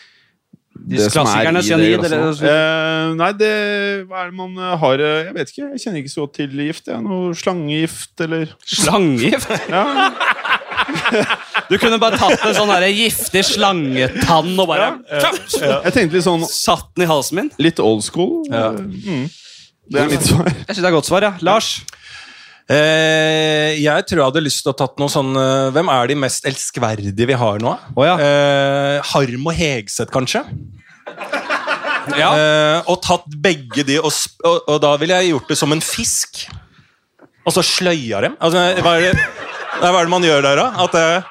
S2: De
S6: Det som er
S2: klassikerne
S6: i det
S2: cyanid
S6: glasset.
S2: eller
S6: Eh, nei, det Hva er det man eh, har eh, Jeg vet ikke. Jeg kjenner ikke så godt til gift. Jeg. Noe slangegift eller
S2: [laughs] slangegift?
S6: ja.
S2: Du kunne bare tatt en sånn der giftig slangetann og bare klapp,
S6: Jeg tenkte litt sånn
S2: satt den i halsen min.
S6: litt old school.
S3: Ja.
S6: Eh, Mm. Det er mitt svar.
S2: Jeg synes det er et godt svar, ja. Lars?
S3: Eh, jeg tror jeg hadde lyst til å tatt noe sånn eh, Hvem er de mest elskverdige vi har nå?
S2: Å, ja.
S3: eh, Harm og Hegseth, kanskje?
S2: Ja.
S3: Eh, og tatt begge de, og, sp- og, og da ville jeg gjort det som en fisk. Og så sløya dem. Altså, hva er det, nei, hva er det man gjør der, da? At eh,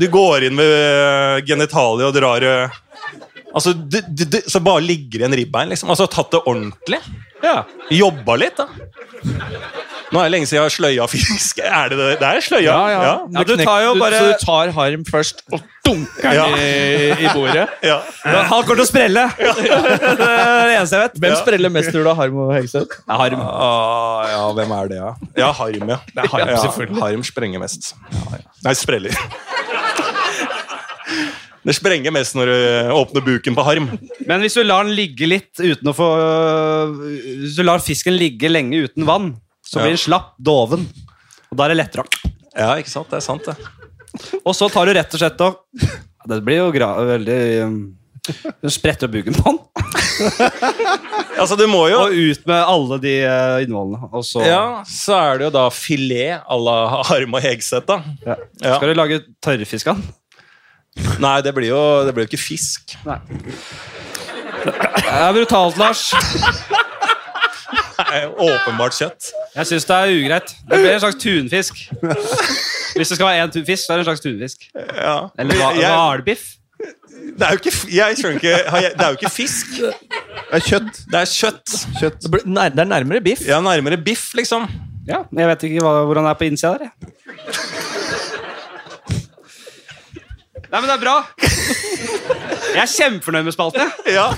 S3: du går inn ved eh, genitaliet og drar eh, Altså, du, du, du, Så bare ligger det en ribbein, liksom. Altså tatt det ordentlig. Jobba litt, da. Nå er det lenge siden jeg har sløya fisk. Er det det? Det er sløya. Ja.
S2: Ja, du tar jo bare
S4: Så du tar harm først og dunker
S3: Ja.
S4: den i, i
S2: [laughs]
S4: bordet?
S3: Ja.
S2: Han kommer til å sprelle! [laughs] Det er det eneste jeg vet.
S4: Hvem spreller mest, tror du, av harm og hegseth?
S2: Ja, Harm.
S3: Ah, ja, hvem er det, ja? Ja, Harm, ja. Det er
S4: Harm,
S3: ja,
S4: selvfølgelig.
S3: Harm sprenger mest. Nei, spreller. Det sprenger mest når du åpner buken på Harm.
S2: Men hvis du lar den ligge litt uten å få Hvis du lar fisken ligge lenge uten vann, så
S3: Ja.
S2: blir den slapp, doven. Og da er det lettere å
S3: Ja, ikke sant? Det er sant, det.
S2: Og så tar du rett og slett og ja, Det blir jo gra veldig um, Du spretter opp buken på [laughs] den,
S3: Altså, du må jo
S2: og ut med alle de eh, innvollene. Og så
S3: Ja, så er det jo da filet à la Harm og Hegseth, da.
S2: Ja.
S3: Ja.
S2: Skal du lage tørrfisk av den?
S3: Nei, det blir jo det blir jo ikke fisk.
S2: Nei. Det er brutalt, Lars.
S3: Det er jo åpenbart kjøtt.
S2: Jeg syns det er ugreit. Det blir en slags tunfisk. Hvis det skal være én tu- fisk, så er det en slags tunfisk.
S3: Ja.
S2: Eller hva-
S3: Jeg-
S2: hvalbiff.
S3: Det er jo ikke, f- jeg skjønner ikke, har jeg- det er jo ikke fisk.
S6: Det er kjøtt.
S3: Det er kjøtt.
S6: kjøtt.
S4: Det blir- nær- det er nærmere biff.
S3: Ja, nærmere biff, liksom.
S2: Ja, jeg vet ikke hva, hvordan det er på innsida der. Jeg. Nei, men det er bra. Jeg er kjempefornøyd med spalten. jeg.
S3: Ja,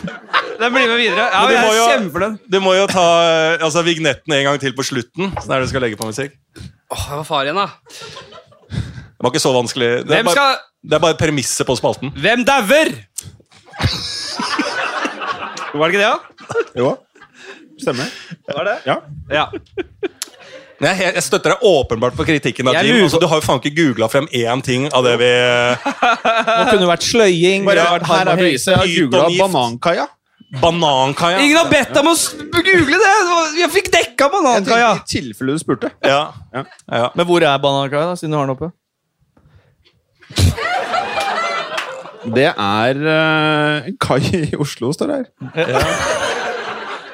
S2: Den blir med videre. Ja,
S3: Men du
S2: jeg
S3: må
S2: er
S3: jo-
S2: kjempefornøyd.
S3: Du må jo ta eh, altså, vignetten en gang til på slutten. Så er det du skal legge på musikk.
S2: Åh, hva far igjen, da?
S3: Det var ikke så vanskelig. Det
S2: Hvem
S3: er bare,
S2: skal
S3: det er bare premisset på spalten.
S2: Hvem
S3: [laughs]
S2: dauer? Var det ikke det, da?
S6: Jo, stemmer.
S2: Var det?
S6: Ja.
S2: Ja.
S3: Nei, jeg, jeg støtter deg åpenbart på kritikken av
S2: Jeg
S3: Jim.
S2: lurer
S3: Altså, du har jo faen ikke googla frem én ting av det vi eh,
S4: Det kunne vært sløying.
S6: Bare,
S4: det kunne vært
S6: her er beviset. Jeg har googla
S3: Pytongift.
S6: banankaia.
S3: Banankaia.
S2: Ingen har bedt deg om å s- google det! Det var- Jeg fikk dekka
S6: Jeg tenkte,
S2: banankaia!
S6: I tilfelle du spurte.
S3: Ja.
S6: Ja.
S3: Ja.
S4: Men hvor er banankaia, da, siden du har den oppe?
S6: Det er eh, en kai i Oslo, står det her.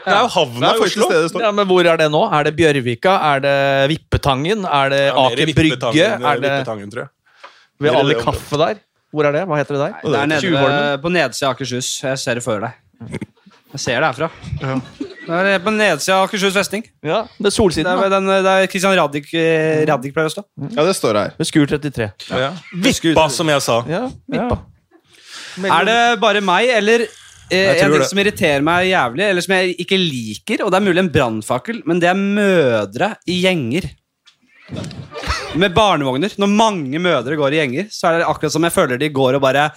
S3: Det er jo havna i Oslo.
S6: det står.
S4: Ja, men hvor er det nå? Er det Bjørvika? Er det Vippetangen? Er det
S3: Ja, mer i
S4: Aker Brygge?
S3: Vippetangen,
S2: eh,
S3: eh,
S4: Er det
S3: Vippetangen, tror jeg.
S4: ved
S3: Mer i
S4: alle
S3: det området.
S4: kaffe der? Hvor er det? Hva heter det der?
S2: Det er nede
S4: Tjuvholmen.
S2: ved- på nedsida av Akershus. Jeg ser det for deg. Jeg ser det herfra. Det er på nedsida av Akershus festning.
S4: Ja, det er
S2: Det er
S4: Solsiden.
S2: ved den, eh, der Christian Radich, eh, Radich pleier å stå.
S6: Ja, det står det her.
S4: Ved Skur 33.
S3: Ja. Vippa, som jeg sa.
S4: Ja, Vippa.
S2: Er det bare meg, eller eh,
S3: Jeg
S2: en
S3: tror
S2: ting
S3: det.
S2: som irriterer meg jævlig, eller som jeg ikke liker, og det er mulig en brannfakkel, men det er mødre i gjenger. Med barnevogner. Når mange mødre går i gjenger, så er det akkurat som jeg føler de går og bare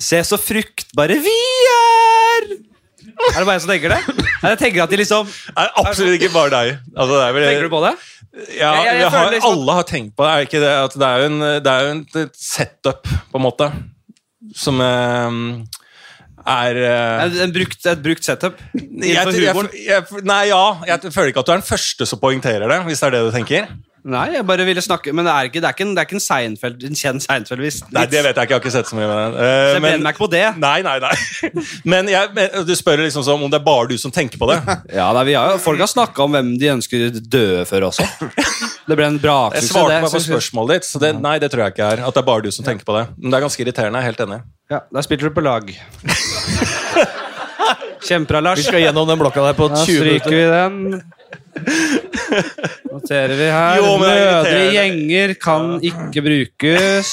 S2: Se så fruktbare vi er! Er det bare jeg som tenker det? Nei, Jeg tenker at de liksom
S3: Det er absolutt ikke bare deg. Altså, det er vel,
S2: Tenker du på det?
S3: Ja,
S2: Jeg- jeg- jeg
S3: vi har,
S2: føler liksom at-
S3: Alle har tenkt på det. Er ikke det, at det er jo en, det er jo en, et setup, på en måte, som eh, er eh,
S2: En, en brukt, et brukt setup?
S3: jeg,
S2: Innenfor
S3: jeg,
S2: humoren?
S3: jeg, Nei, ja. Jeg føler ikke at du er den første som poengterer det, hvis det er det du tenker.
S2: Nei, jeg bare ville snakke Men det er ikke, det er ikke, en, det er ikke en Seinfeld, en kjent Seinfeld-vits.
S3: Nei, det vet jeg ikke. Jeg har ikke sett så mye med det.
S2: Så
S3: Eh,
S2: jeg brenner meg ikke på det.
S3: Nei, nei, [laughs] nei. Men, jeg, men du spør liksom som om det er bare du som
S2: [laughs]
S3: tenker på det.
S2: Ja, nei, vi har, jo- Folk har snakka om hvem de ønsker døde før også. Det ble en
S3: Jeg
S2: braksuksess.
S3: svarte
S2: det,
S3: meg på
S2: så-
S3: spørsmålet ditt, så det, nei, det tror jeg ikke er. At det er bare du som tenker på det. Men det er ganske irriterende. Jeg er helt enig.
S2: Ja, Der spilte du på
S3: [laughs]
S2: lag. Kjempebra, Lars.
S4: Vi skal gjennom den blokka der på
S2: Da
S4: 20
S2: stryker vi
S4: minutter.
S2: den. Noterer vi her.
S3: Jo, men det
S2: Mødre i
S3: er irriterende.
S2: gjenger kan ikke
S3: [laughs]
S2: brukes,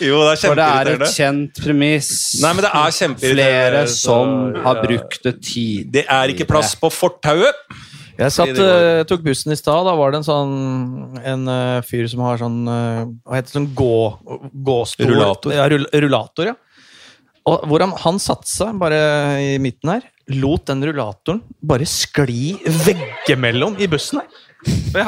S3: Jo, det er
S2: for det er et
S3: kjempeirriterende.
S2: kjent premiss.
S3: Nei, men det er kjempeirriterende.
S2: Flere som har brukt det tid.
S3: Det er ikke plass på fortauet.
S4: Jeg satt, eh, tok bussen i stad. Da var det en sånn en eh, fyr som har sånn eh, Hva heter det? Sånn gå, gåstol?
S3: Rullator.
S4: Ja, rull, rullator, ja. Og hvor han, han satte seg bare i midten her, lot den rullatoren bare skli veggimellom i bussen her.
S2: Ja.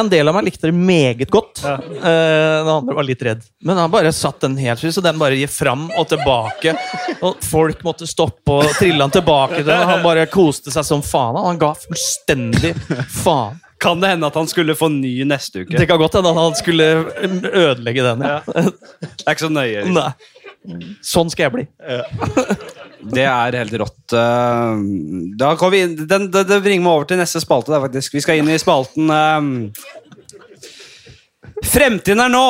S4: En del av meg likte det meget godt. Eh, Den andre var litt redd. Men han bare satt den helt fri, så den bare gikk fram og tilbake. Og folk måtte stoppe og trille han tilbake til den. og Han bare koste seg som faen. og Han ga fullstendig faen.
S2: Kan det hende at han skulle få ny neste uke?
S4: Det kan godt hende at han skulle ødelegge den. Ja.
S2: Det er ikke så nøye. liksom.
S4: Nei. Sånn skal jeg bli.
S2: Det er helt rått. Eh, Da går vi inn. Den, det, det bringer meg over til neste spalte. Der, faktisk. Vi skal inn i spalten eh, Fremtiden er nå!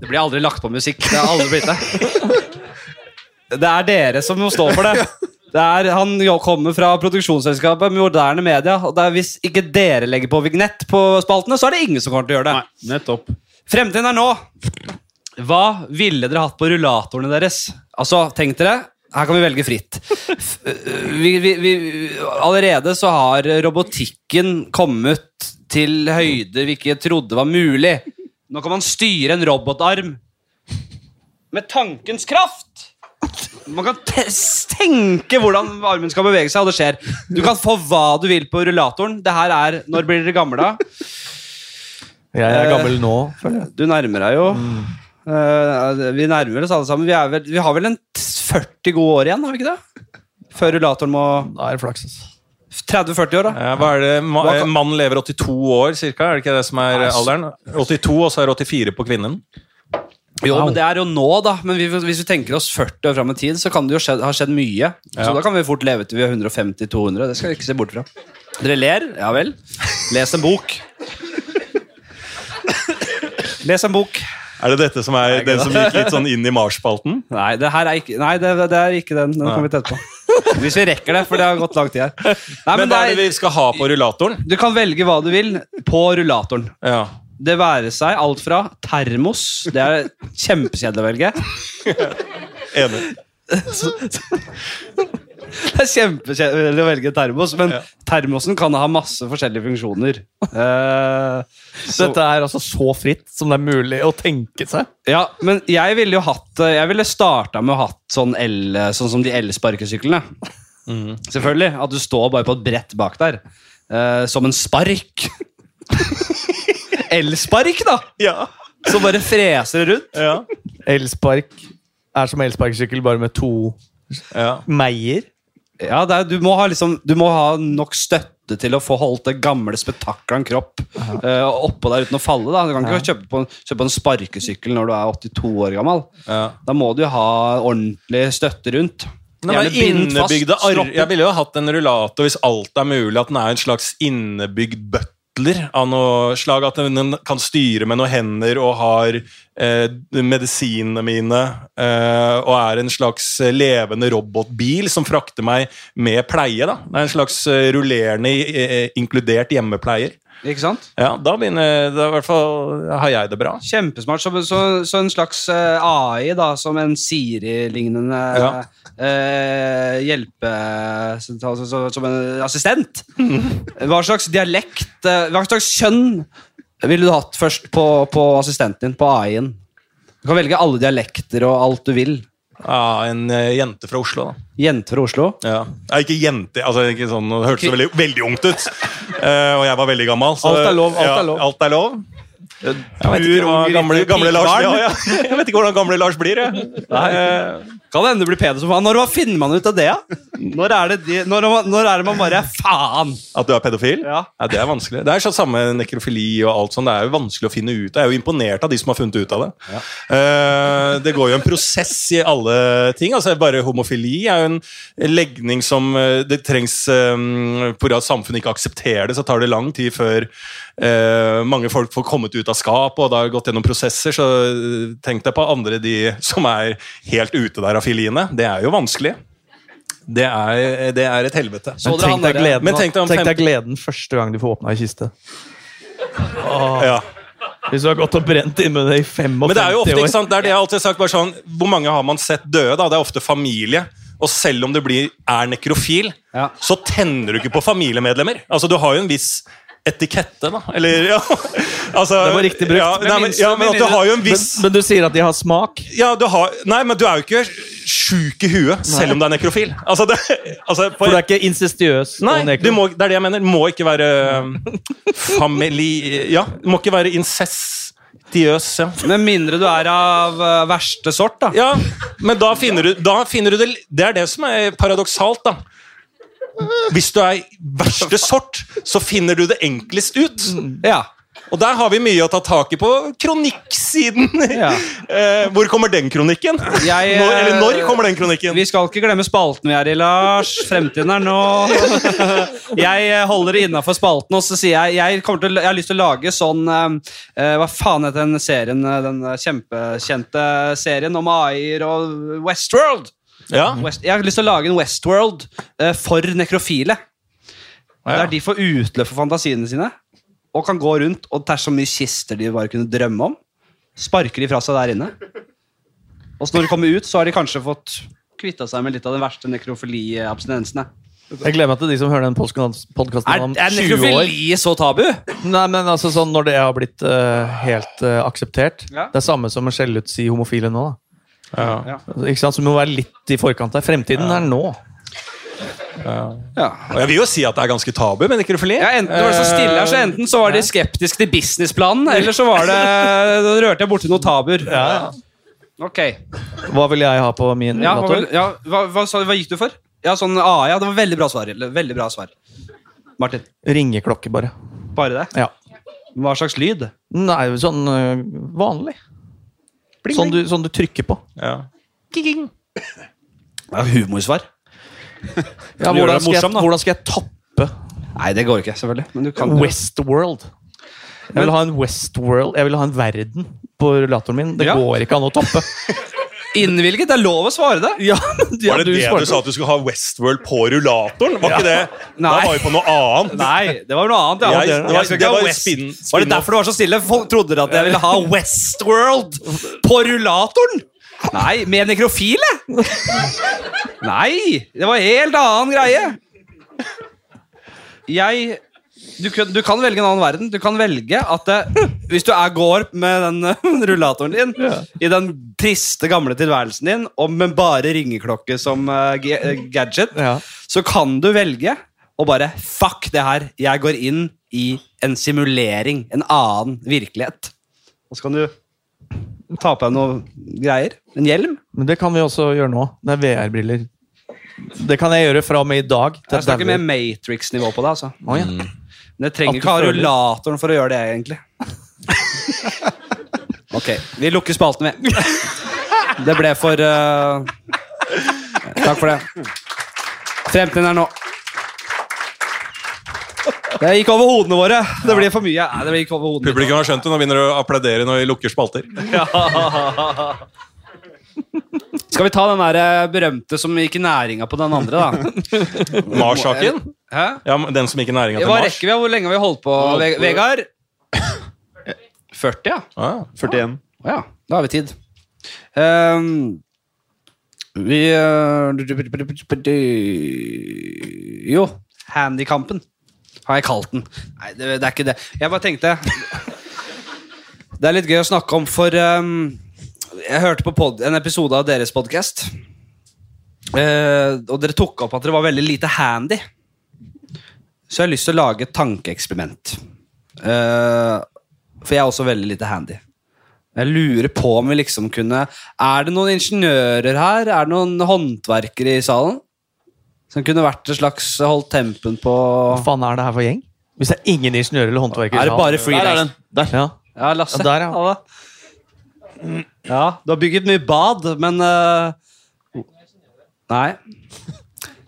S2: Det blir aldri lagt på musikk. Det har aldri blitt det. Det er dere som må stå for det. det er, han jo- kommer fra produksjonsselskapet Moderne Media. Og det er, hvis ikke dere legger på vignett på spaltene, så er det ingen som kommer til å gjøre det.
S6: Nei, nettopp.
S2: Fremtiden er nå. Hva ville dere hatt på rullatorene deres? Altså, tenk dere. Her kan vi velge fritt. F- eh, Vi, vi, vi, allerede så har robotikken kommet til høyder vi ikke trodde var mulig. Nå kan man styre en robotarm med tankens kraft. Man kan te tenke hvordan armen skal bevege seg, og det skjer. Du kan få hva du vil på rullatoren. Det her er Når blir dere gamle, da?
S4: Jeg
S2: er gammel
S4: nå, [laughs] føler jeg.
S2: Du nærmer deg jo.
S3: Mm.
S2: Eh, vi nærmer oss alle sammen. Vi, er vel, vi har vel en t- 40 gode år igjen, har vi ikke det? Før rullatoren må
S4: Da er det flaks. altså. ass.
S2: 30-40 år, da.
S3: Ja, hva er det? Ma
S2: Hva kan-
S3: eh, Mann lever 82 år, cirka. Er det ikke det som er eh, alderen? 82, og så er det 84 på kvinnen.
S2: Jo, men Det er jo nå, da. Men vi, hvis vi tenker oss 40 år fram i tid, så kan det jo skje, ha skjedd mye. Så
S3: Ja.
S2: da kan vi fort leve til vi er 150-200. Det skal vi ikke se bort fra. Dere ler? Ja vel. Les en bok. Les en bok.
S3: Er det dette som er den som gikk litt sånn inn i Mars-spalten?
S2: Nei, det her er ikke, nei, det, det er ikke den. Den kommer vi tett på. Hvis vi rekker det, for det har gått lang tid her. Nei,
S3: Men,
S2: men det
S3: hva er
S2: er-
S3: det vi skal ha på rullatoren?
S2: Du kan velge hva du vil på rullatoren.
S3: Ja.
S2: Det være seg alt fra termos Det er kjempekjedelig å velge.
S3: Enig.
S2: Det er kjempekjedelig å velge termos, men termosen kan ha masse forskjellige funksjoner. Eh, så,
S4: Dette er altså så fritt som det er mulig å tenke seg.
S2: ja, men jeg ville jo hatt eh, Jeg ville starta med å hatt sånn el, sånn som de elsparkesyklene. Selvfølgelig. At du står bare på et brett bak der. eh, som en spark. Elspark, da!
S3: Ja.
S2: Som bare freser rundt.
S3: Ja.
S4: Elspark er som elsparkesykkel, bare med to
S3: ja.
S4: meier.
S2: Ja, det er, du, må ha liksom, du må ha nok støtte til å få holdt det gamle spetakkelet kropp eh, oppå der uten å falle. da. Du kan ikke kjøpe, på en, kjøpe en sparkesykkel når du er 82 år gammel.
S3: ja.
S2: Da må du ha ordentlig støtte rundt.
S3: Nei, men
S2: bindt fast
S3: innebygde ar
S2: stropper.
S3: Jeg ville jo hatt en rullator hvis alt er mulig, at den er en slags innebygd butler av noe slag. At den- den kan styre med noen hender og har eh, medisinene mine. Eh, og er en slags eh, levende robotbil som frakter meg med pleie. da. Det er en slags eh, rullerende, eh, inkludert hjemmepleier.
S2: Ikke sant?
S3: Ja, da begynner da i hvert fall har jeg det bra.
S2: Kjempesmart. Så, så, så en slags eh, AI, da, som en Siri-lignende
S3: Ja.
S2: eh, hjelpe... Altså, så, som en
S3: [laughs]
S2: assistent. Hva slags dialekt, eh, hva slags kjønn ville du hatt først på, på assistenten din, på AI-en? Du kan velge alle dialekter og alt du vil.
S3: Ja, En eh, jente fra Oslo, da.
S2: Jente fra Oslo.
S3: Ja. Nei, ikke jente altså, ikke sånn, Det hørtes så veldig, veldig ungt ut. Eh, og jeg var veldig gammel. Så,
S4: Alt er lov, alt er
S3: ja,
S4: lov.
S3: Alt er lov. Jeg vet ikke hva gamle, gamle Lars ja, ja. [laughs] Jeg vet ikke hvordan gamle Lars blir. Jeg. Eh,
S2: Kan hende du blir peder som faen. Når hva finner man ut av det? da? Når er det, de, når, når er det man bare er faen?
S3: at du er pedofil?
S2: Ja.
S3: Det er vanskelig. Det er sånn samme nekrofili og alt sånt. Det er jo vanskelig å finne ut av. Jeg er jo imponert av de som har funnet ut av det. Eh, det går jo en prosess i alle ting. altså Bare homofili er jo en legning som eh, det trengs um, Pga. at samfunnet ikke aksepterer det, så tar det lang tid før eh, mange folk får kommet ut av skapet, og det har gått gjennom prosesser. Så eh, tenk deg på andre de som er helt ute der av filiene. Det er jo vanskelig. Det er, det er et helvete.
S2: Så dere han
S4: Tenk deg
S2: derre-
S4: gleden,
S3: Men tenk deg om
S4: tenk deg
S3: fem-
S4: gleden første gang du får åpna ei kiste.
S3: Ja.
S4: Hvis du har gått og brent inne med det i 55 år.
S3: Men det er jo ofte, ikke sant, det er det jeg alltid har sagt, bare sånn, hvor mange har man sett døde? da? Det er ofte familie. Og selv om du blir, er nekrofil,
S2: Ja.
S3: så tenner du ikke på familiemedlemmer. Altså, du har jo en viss etikette, da. Eller, ja. [laughs] Altså,
S4: Det var riktig brukt.
S3: Ja,
S4: Men
S3: nei, men,
S2: minst-
S3: ja, men at du har jo en
S4: Men,
S3: viss
S4: men du sier at de har smak.
S3: ja, du har, Nei, men du er jo ikke sjuk i huet selv om du er nekrofil. Altså, det, altså, på-
S4: For du er ikke insistiøs. og
S3: Nei,
S4: nekro.
S3: du må, det er det jeg mener. Må ikke være
S4: [laughs]
S3: eh, famili... Ja, må ikke være incestiøs. Ja.
S2: Med mindre du er av eh, verste sort, da.
S3: Ja, men da finner du, da finner du det Det er det som er paradoksalt, da. Hvis du er verste sort, så finner du det enklest ut.
S2: Ja.
S3: Og der har vi mye å ta tak i på kronikksiden.
S2: Ja.
S3: Eh, Hvor kommer den kronikken?
S2: Jeg, eh,
S3: Når, eller når kommer den kronikken?
S2: Vi skal ikke glemme spalten vi er i, Lars. Fremtiden er nå. [laughs] Jeg eh, holder det innafor spalten, og så sier jeg jeg, kommer til, å- jeg har lyst til å lage sånn eh, eh, Hva faen heter den serien? eh, Den eh, kjempekjente serien om AI-er og Westworld.
S3: Ja.
S2: Mm. West, jeg har lyst til å lage en Westworld eh, for nekrofile.
S3: Ja.
S2: Der de får utløp for fantasiene sine og kan gå rundt og det er så mye kister de bare kunne drømme om. Sparker de fra seg der inne. Og så når de kommer ut, så har de kanskje fått kvitta seg med litt av den verste nekrofiliabstinensene.
S4: Jeg gleder meg til de som hører den podkasten
S2: Er,
S4: om
S2: er
S4: 20 år.
S2: nekrofili så tabu?
S4: Nei, men altså sånn Når det har blitt eh, helt eh, akseptert.
S2: Ja.
S4: Det er samme som å skjelle ut si homofile nå. da.
S3: Ja.
S4: Altså, Ikke sant? Så vi må være litt i forkant der. Fremtiden er nå.
S2: Ja.
S3: Og jeg vil jo si at det er ganske tabu med nekrofili.
S2: Ja, enten, det var så stille her, så enten så var de skeptiske til businessplanen, eller så [laughs] var det, da rørte jeg borti noen tabuer. Ok.
S4: Hva vil jeg ha på min
S2: Ja, hva,
S4: rullator?
S2: ja, hva, hva, sa- hva gikk du for? Ja, sånn AI. Ja, det var veldig bra svar. eller, Veldig bra svar. Martin,
S4: Ringeklokke, bare.
S2: bare det?
S4: Ja.
S2: Hva slags lyd?
S4: Nei, sånn eh, vanlig. Sånn du, sånn du trykker på.
S3: Ja.
S2: Ja, humorsvar.
S4: Ja, hvordan, skal
S3: Gjør deg
S4: jeg,
S3: morsom, da.
S4: hvordan skal jeg tappe
S2: Nei, det går ikke, selvfølgelig. Men du kan
S4: Westworld? Jeg vil ha en Westworld Jeg vil ha en verden på rullatoren min. Det
S2: Ja.
S4: går ikke an å
S3: [laughs]
S4: toppe.
S2: Innvilget! Det er lov å svare det!
S4: Ja, ja,
S3: Var det det
S4: svarte.
S3: du sa at du skulle ha Westworld på rullatoren? Var ikke
S2: [laughs]
S3: det? Da
S2: Nei.
S3: var vi på noe annet.
S2: Nei, det var noe annet. Ja.
S3: Jeg- det var-
S2: Jeg skal ikke
S3: det
S2: ha
S3: var
S2: West-
S3: spin-
S2: var det
S3: spin-off.
S2: derfor det var så stille? Folk trodde at jeg ville ha Westworld på rullatoren! Nei, med nekrofile! Nei! Det var en helt annen greie. Jeg du kan, du kan velge en annen verden. Du kan velge at det, Hvis du er går med den eh, [laughs] rullatoren din i den triste, gamle tilværelsen din, og med bare ringeklokke som eh, ga- eh, gadget,
S4: Ja.
S2: så kan du velge og bare Fuck det her! Jeg går inn i en simulering. En annen virkelighet. Og så kan du ta på deg noe greier. En hjelm.
S4: Men det kan vi også gjøre nå. Det er VR-briller. Det kan jeg gjøre fra og med i dag. til
S2: Jeg snakker
S4: dauer.
S2: mer Matrix-nivå på det. altså.
S4: Å, ja.
S2: Men jeg trenger
S4: At du
S2: ikke ha
S4: føler-
S2: rullatoren for å gjøre det, [laughs] egentlig. Ok, vi lukker spalten, vi. Det ble for eh, Takk for det. Fremtiden er nå. Det gikk over hodene våre. Det blir for mye. Nei, det gikk over hodene
S3: Publikum har skjønt det. Nå begynner de å applaudere når vi lukker spalter.
S2: Skal vi ta den der eh, berømte som gikk i næringa på den andre, da?
S3: Mars-saken.
S2: Hæ?
S3: Ja, men den som gikk i næringa til
S2: Hva
S3: Mars.
S2: rekker vi? og Hvor lenge har vi holdt på, Ve- [coughs] Vegard? 40, ja.
S3: Ah,
S6: 41.
S2: Å ja, da har vi tid. Ehm, vi eh, Jo, Handykampen har jeg kalt den. Nei, det, det er ikke det. Jeg bare tenkte Det er litt gøy å snakke om, for ehm, jeg hørte på pod, en episode av deres podkast. og dere tok opp at dere var veldig lite handy. Så jeg har lyst til å lage et tankeeksperiment. Eh, for jeg er også veldig lite handy. Jeg lurer på om vi liksom kunne Er det noen ingeniører her? Er det noen håndverkere i salen? Som kunne vært et slags holdt tempen på
S4: Hva faen er det her for gjeng? Hvis det er ingen ingeniører eller håndverkere i
S2: Er det
S4: salen.
S2: bare
S1: Der er
S2: freelance?
S1: den. Der.
S4: Ja.
S2: Ja, Lasse.
S4: Ja, der, ja.
S2: Ha det. ja, du har bygget mye bad, men eh, Nei.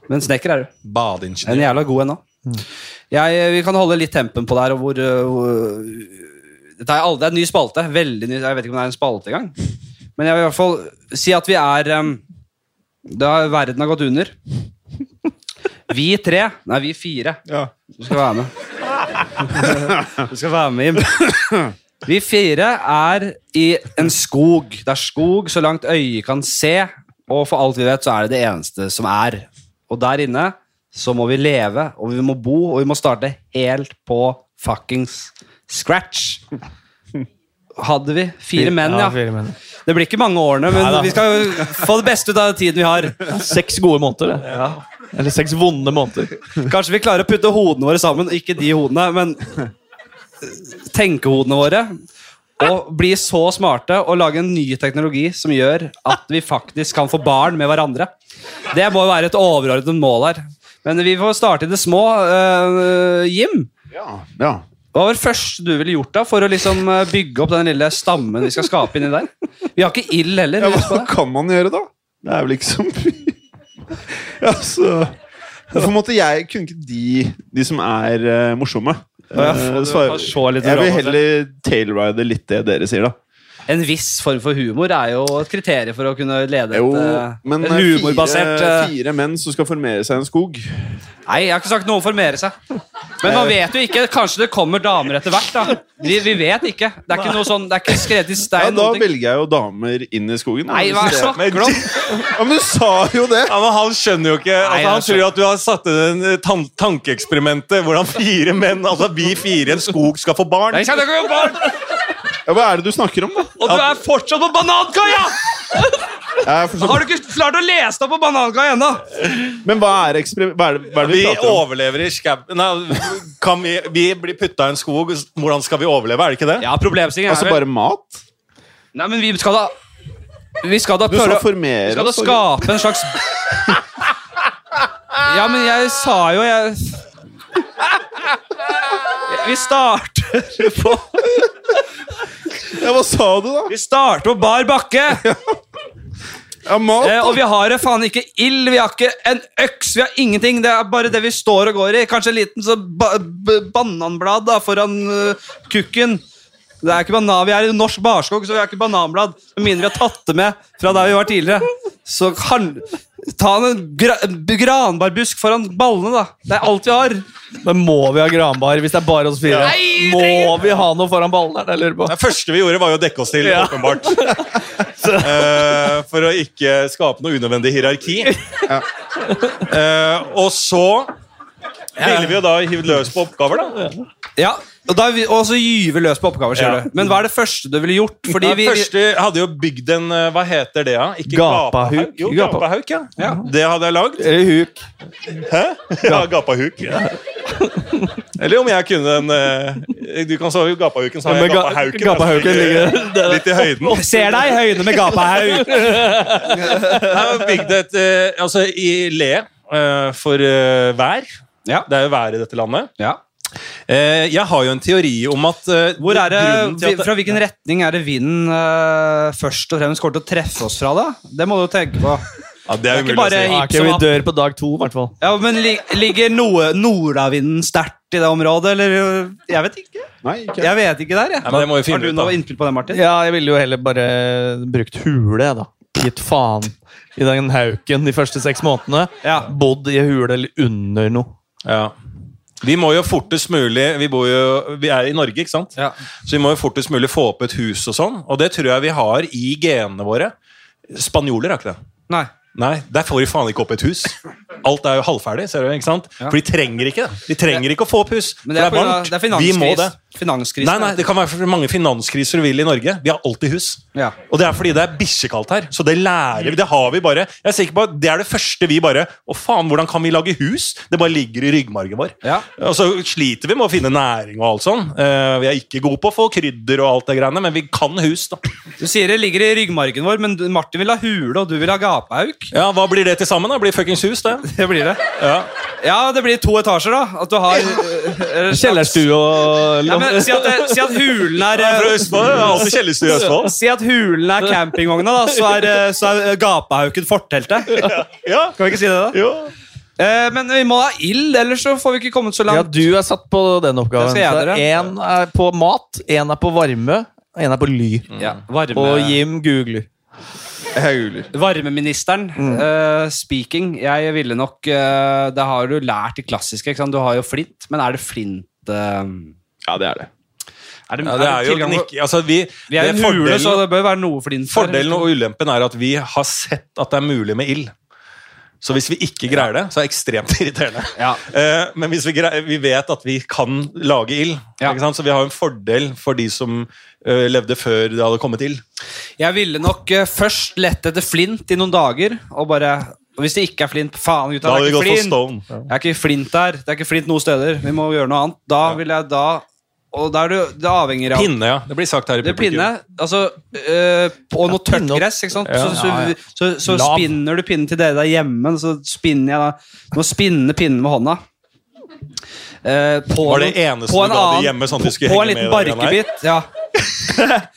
S2: Men snekker er du. En
S3: Badeingeniør.
S2: jævla god en òg. Vi kan holde litt tempen på der. Og hvor, øh, hvor dette er, aldri, det er en ny spalte. Veldig ny, jeg vet ikke om det er en spalte engang. Men jeg vil i hvert fall si at vi er um, da Verden har gått under. Vi tre Nei, vi fire. Du skal være [laughs] med. Du skal være med, Jim. Vi fire er i en skog. Det er skog så langt øyet kan se, og for alt vi vet, så er det det eneste som er. Og der inne så må vi leve, og vi må bo, og vi må starte helt på fuckings scratch. Hadde vi fire menn, ja.
S4: fire menn.
S2: Det blir ikke mange årene, men vi skal jo få det beste ut av tiden vi har.
S4: Seks gode måneder, det. Eller seks vonde måneder.
S2: Kanskje vi klarer å putte hodene våre sammen. Ikke de hodene, men tenkehodene våre. Og bli så smarte og lage en ny teknologi som gjør at vi faktisk kan få barn med hverandre. Det må jo være et overordnet mål her. Men vi får starte i det små. Eh, Jim,
S6: Ja. ja.
S2: hva var det første du ville gjort da for å liksom eh, bygge opp den lille stammen vi skal skape inni der? Vi har ikke ild heller.
S6: Ja,
S2: husk på
S6: hva
S2: det.
S6: kan man gjøre, da? Det er vel ikke så mye Ja, så Hvorfor måtte jeg Kunne ikke de, de som er eh, morsomme
S2: Ja,
S6: eh,
S2: få-
S6: svare-
S2: få se litt
S6: Jeg vil
S2: drama til.
S6: heller tailride litt det dere sier, da.
S2: En viss form for humor er jo et kriterium for å kunne lede et,
S6: Jo,
S2: eh,
S6: men
S2: et
S6: eh,
S2: humorbasert
S6: fire,
S2: eh,
S6: fire menn som skal formere seg i en skog
S2: Nei, jeg har ikke sagt noe om å formere seg. Men man vet jo ikke. Kanskje det kommer damer etter hvert. da. Vi, vi vet ikke. Det er ikke noe sånn, det er ikke skrevet i
S6: Ja,
S2: stein.
S6: da
S2: noen ting.
S6: velger jeg jo damer inn i skogen. da,
S2: Nei,
S6: hvis
S2: hva
S6: det-
S2: snakker du om?
S6: Ja, men du sa jo det!
S3: Ja, men Han skjønner jo ikke
S2: Nei,
S3: altså,
S2: han
S3: Han tror jo at du har satt inn en eh, tan tankeeksperimentet hvordan fire menn, altså vi fire i en skog, skal få barn.
S2: Jeg kjenner ikke noe barn,
S6: Ja, hva er det du snakker om, da?
S2: Og du er fortsatt på banankaia!
S6: Jeg er for så-
S2: Har du ikke klart å lese deg på banankaia ennå?
S6: Men hva er, eksper- hva er, det, hva er det vi
S3: Vi
S6: prater om?
S3: overlever i skau... Nei, kan vi, vi blir putta i en skog. Hvordan skal vi overleve? Er det ikke det?
S2: Ja, problemstillingen
S6: Altså
S2: er vel
S6: bare mat?
S2: Nei, men vi skal da Vi skal da
S6: Du sa
S2: prøve å-
S6: formere
S2: Skal du
S6: oss, sorry.
S2: skape en slags Ja, men jeg sa jo jeg Vi starter på
S6: Ja, hva sa du, da?
S2: Vi starter på bar bakke,
S6: Ja, mat?
S2: eh, og vi har eh, faen ikke ild, vi har ikke en øks, vi har ingenting. Det er bare det vi står og går i. Kanskje en liten så ba b- bananblad da, foran eh, kukken. Det er ikke banan, Vi er i norsk barskog, så vi har ikke bananblad. Med mindre vi har tatt det med fra der vi var tidligere. Så kan, ta en gra b- granbarbusk foran ballene, da. Det er alt vi har.
S4: Men må vi ha granbar hvis det er bare oss fire?
S2: Nei, vi
S4: må vi ha noe foran ballen? her? Det lurer jeg på.
S3: Det første vi gjorde, var jo å dekke oss til, åpenbart. Eh, for å ikke skape noe unødvendig hierarki. Eh, og så ville vi jo da hivd løs på oppgaver, da.
S2: Ja, Og, da, er vi- og så gyver løs på oppgaver, sier
S3: Ja.
S2: du. Men hva er det første du ville gjort? Fordi
S3: Fordi
S2: vi, vi,
S3: Første hadde jo bygd en eh, Hva heter det, da? Ikke
S4: Gapahauk.
S3: Jo,
S4: Gapa-
S3: gapahauk, ja. Det hadde jeg lagd.
S4: Eller huk.
S3: Hæ? Ja, gapahuk. Ja. Eller om jeg kunne en eh, Du kan sove i gapahuken, så har jeg
S4: Men ga-
S3: gapahauken.
S4: Gapahauken
S3: [laughs]
S4: ligger
S3: Litt i høyden.
S2: ser deg i høyene med gapahauk!
S3: Jeg bygde et eh, Altså, i le eh, for eh, vær.
S2: Ja.
S3: Det er jo vær i dette landet.
S2: Ja.
S3: Eh, jeg har jo en teori om at eh,
S2: Hvor er det,
S3: grunnen til
S2: vi-
S3: at
S2: fra hvilken retning er det vinden eh, først og fremst kommer til å treffe oss fra, da? Det må du jo tenke på.
S3: ja, Det er
S2: ikke
S3: umulig
S2: bare
S3: å si.
S4: Ja,
S2: Hipp
S4: ok,
S2: som
S4: vi
S2: happ.
S4: dør på dag to, i hvert fall.
S2: Ja, men li, Ligger noe nordavinden sterkt i det området, eller? eh, Jeg vet ikke.
S6: Nei, ikke.
S2: Jeg vet ikke der, jeg.
S3: Nei, men det må vi finne
S2: har du
S3: ut av.
S2: noe innspill på det, Martin?
S4: Ja, jeg ville jo heller bare brukt hule, jeg, da. Gitt faen i den hauken de første seks månedene.
S2: Ja.
S4: Bodd i ei hule eller under noe.
S3: Ja. Vi må jo fortest mulig vi, bor jo, vi er i Norge, ikke sant?
S2: Ja.
S3: Så vi må jo fortest mulig få opp et hus og sånn. Og det tror jeg vi har i genene våre. Spanjoler har ikke det.
S2: Nei.
S3: Nei, Der får de faen ikke opp et hus. Alt er jo halvferdig. ser du, ikke sant? For de trenger ikke det. De trenger ikke å få opp hus.
S2: Men det er,
S3: for
S2: på
S3: det er
S2: grunn av-
S3: varmt.
S2: det er
S3: vi må
S2: finanskris.
S3: det.
S2: Finanskrisen.
S3: Nei, nei, Det kan være for mange finanskriser du vil i Norge. Vi har alltid hus.
S2: Ja.
S3: Og det er fordi det er bikkjekaldt her. Så det lærer vi. Det har vi bare. Jeg er sikker på at det er det første vi bare Å, faen, hvordan kan vi lage hus? Det bare ligger i ryggmargen vår.
S2: Ja.
S3: Og så sliter vi med å finne næring og alt sånn. Eh, vi er ikke gode på å få krydder og alt det greiene, men vi kan hus, da.
S2: Du sier det ligger i ryggmargen vår, men du- Martin vil ha hule, og du vil ha gapehauk.
S3: Ja, Hva blir det til sammen? da? Blir fuckings hus, det.
S2: Det blir det.
S3: Ja.
S2: Ja, det blir to etasjer, da. At du har eh, eh,
S4: Kjellerstue og
S2: Ja, men si at, det- si at hulen er
S3: Jeg er fra
S2: eh,
S3: Østfold. Jeg har alltid kjellerstue i Østfold.
S2: Si at hulen er campingvogna, da, så er, eh, så er eh, gapehauken forteltet.
S3: Ja,
S2: Kan vi ikke si det, da?
S3: jo.
S2: Eh, men vi må ha ild, ellers så får vi ikke kommet så
S4: Ja,
S2: langt.
S4: du er satt på den oppgaven.
S2: Det skal jeg
S4: Så
S2: gjøre.
S4: Én er på mat, én er på varme, og én er på ly.
S2: Ja, varme-
S4: Og Jim googler.
S6: Hauler.
S2: Varmeministeren,
S3: Mm.
S2: eh, speaking. Jeg ville nok eh, Det har du lært i klassiske. Ikke sant? Du har jo flint, men er det flint eh,
S6: Ja, det er det.
S2: er det,
S3: Ja, det er jo
S2: tilgang-
S3: gnikk... Altså, vi,
S2: Vi er
S3: det
S2: jo
S3: fordelen-
S2: hule, så det bør være noe flint. her.
S3: Fordelen og ulempen er at vi har sett at det er mulig med ild. Så hvis vi ikke greier det, så er det ekstremt irriterende.
S2: Ja.
S3: Eh, Men hvis vi, greier, vi vet at vi kan lage ild,
S2: Ja.
S3: ikke sant? så vi har en fordel for de som eh, levde før det hadde kommet ild.
S2: Jeg ville nok eh, først lett etter flint i noen dager, og bare og Hvis det ikke er flint, faen gutta,
S3: Da hadde
S2: det
S3: vi
S2: er
S3: gått
S2: ikke
S3: for
S2: flint.
S3: Stone.
S2: Det er ikke flint der. Det er ikke flint noen steder. Vi må gjøre noe annet. Da vil jeg da Og da er du det avhenger av
S3: Pinne, ja. Det blir sagt her i
S2: Det er pinne, altså, øh, og noe tørt
S4: pinne og-
S2: gress, ikke sant?
S3: Ja.
S2: så, så, så, så
S4: Lav.
S2: spinner du pinnen til dere der hjemme, så spinner jeg da. Du må spinne pinnen med hånda. Eh, på
S3: Var det
S2: noen-
S3: eneste
S2: på en
S3: du ga de
S2: annen-
S3: hjemme, sånn at de skulle
S2: På
S3: henge
S2: en liten
S3: med i det greiene
S2: barkebit, ja.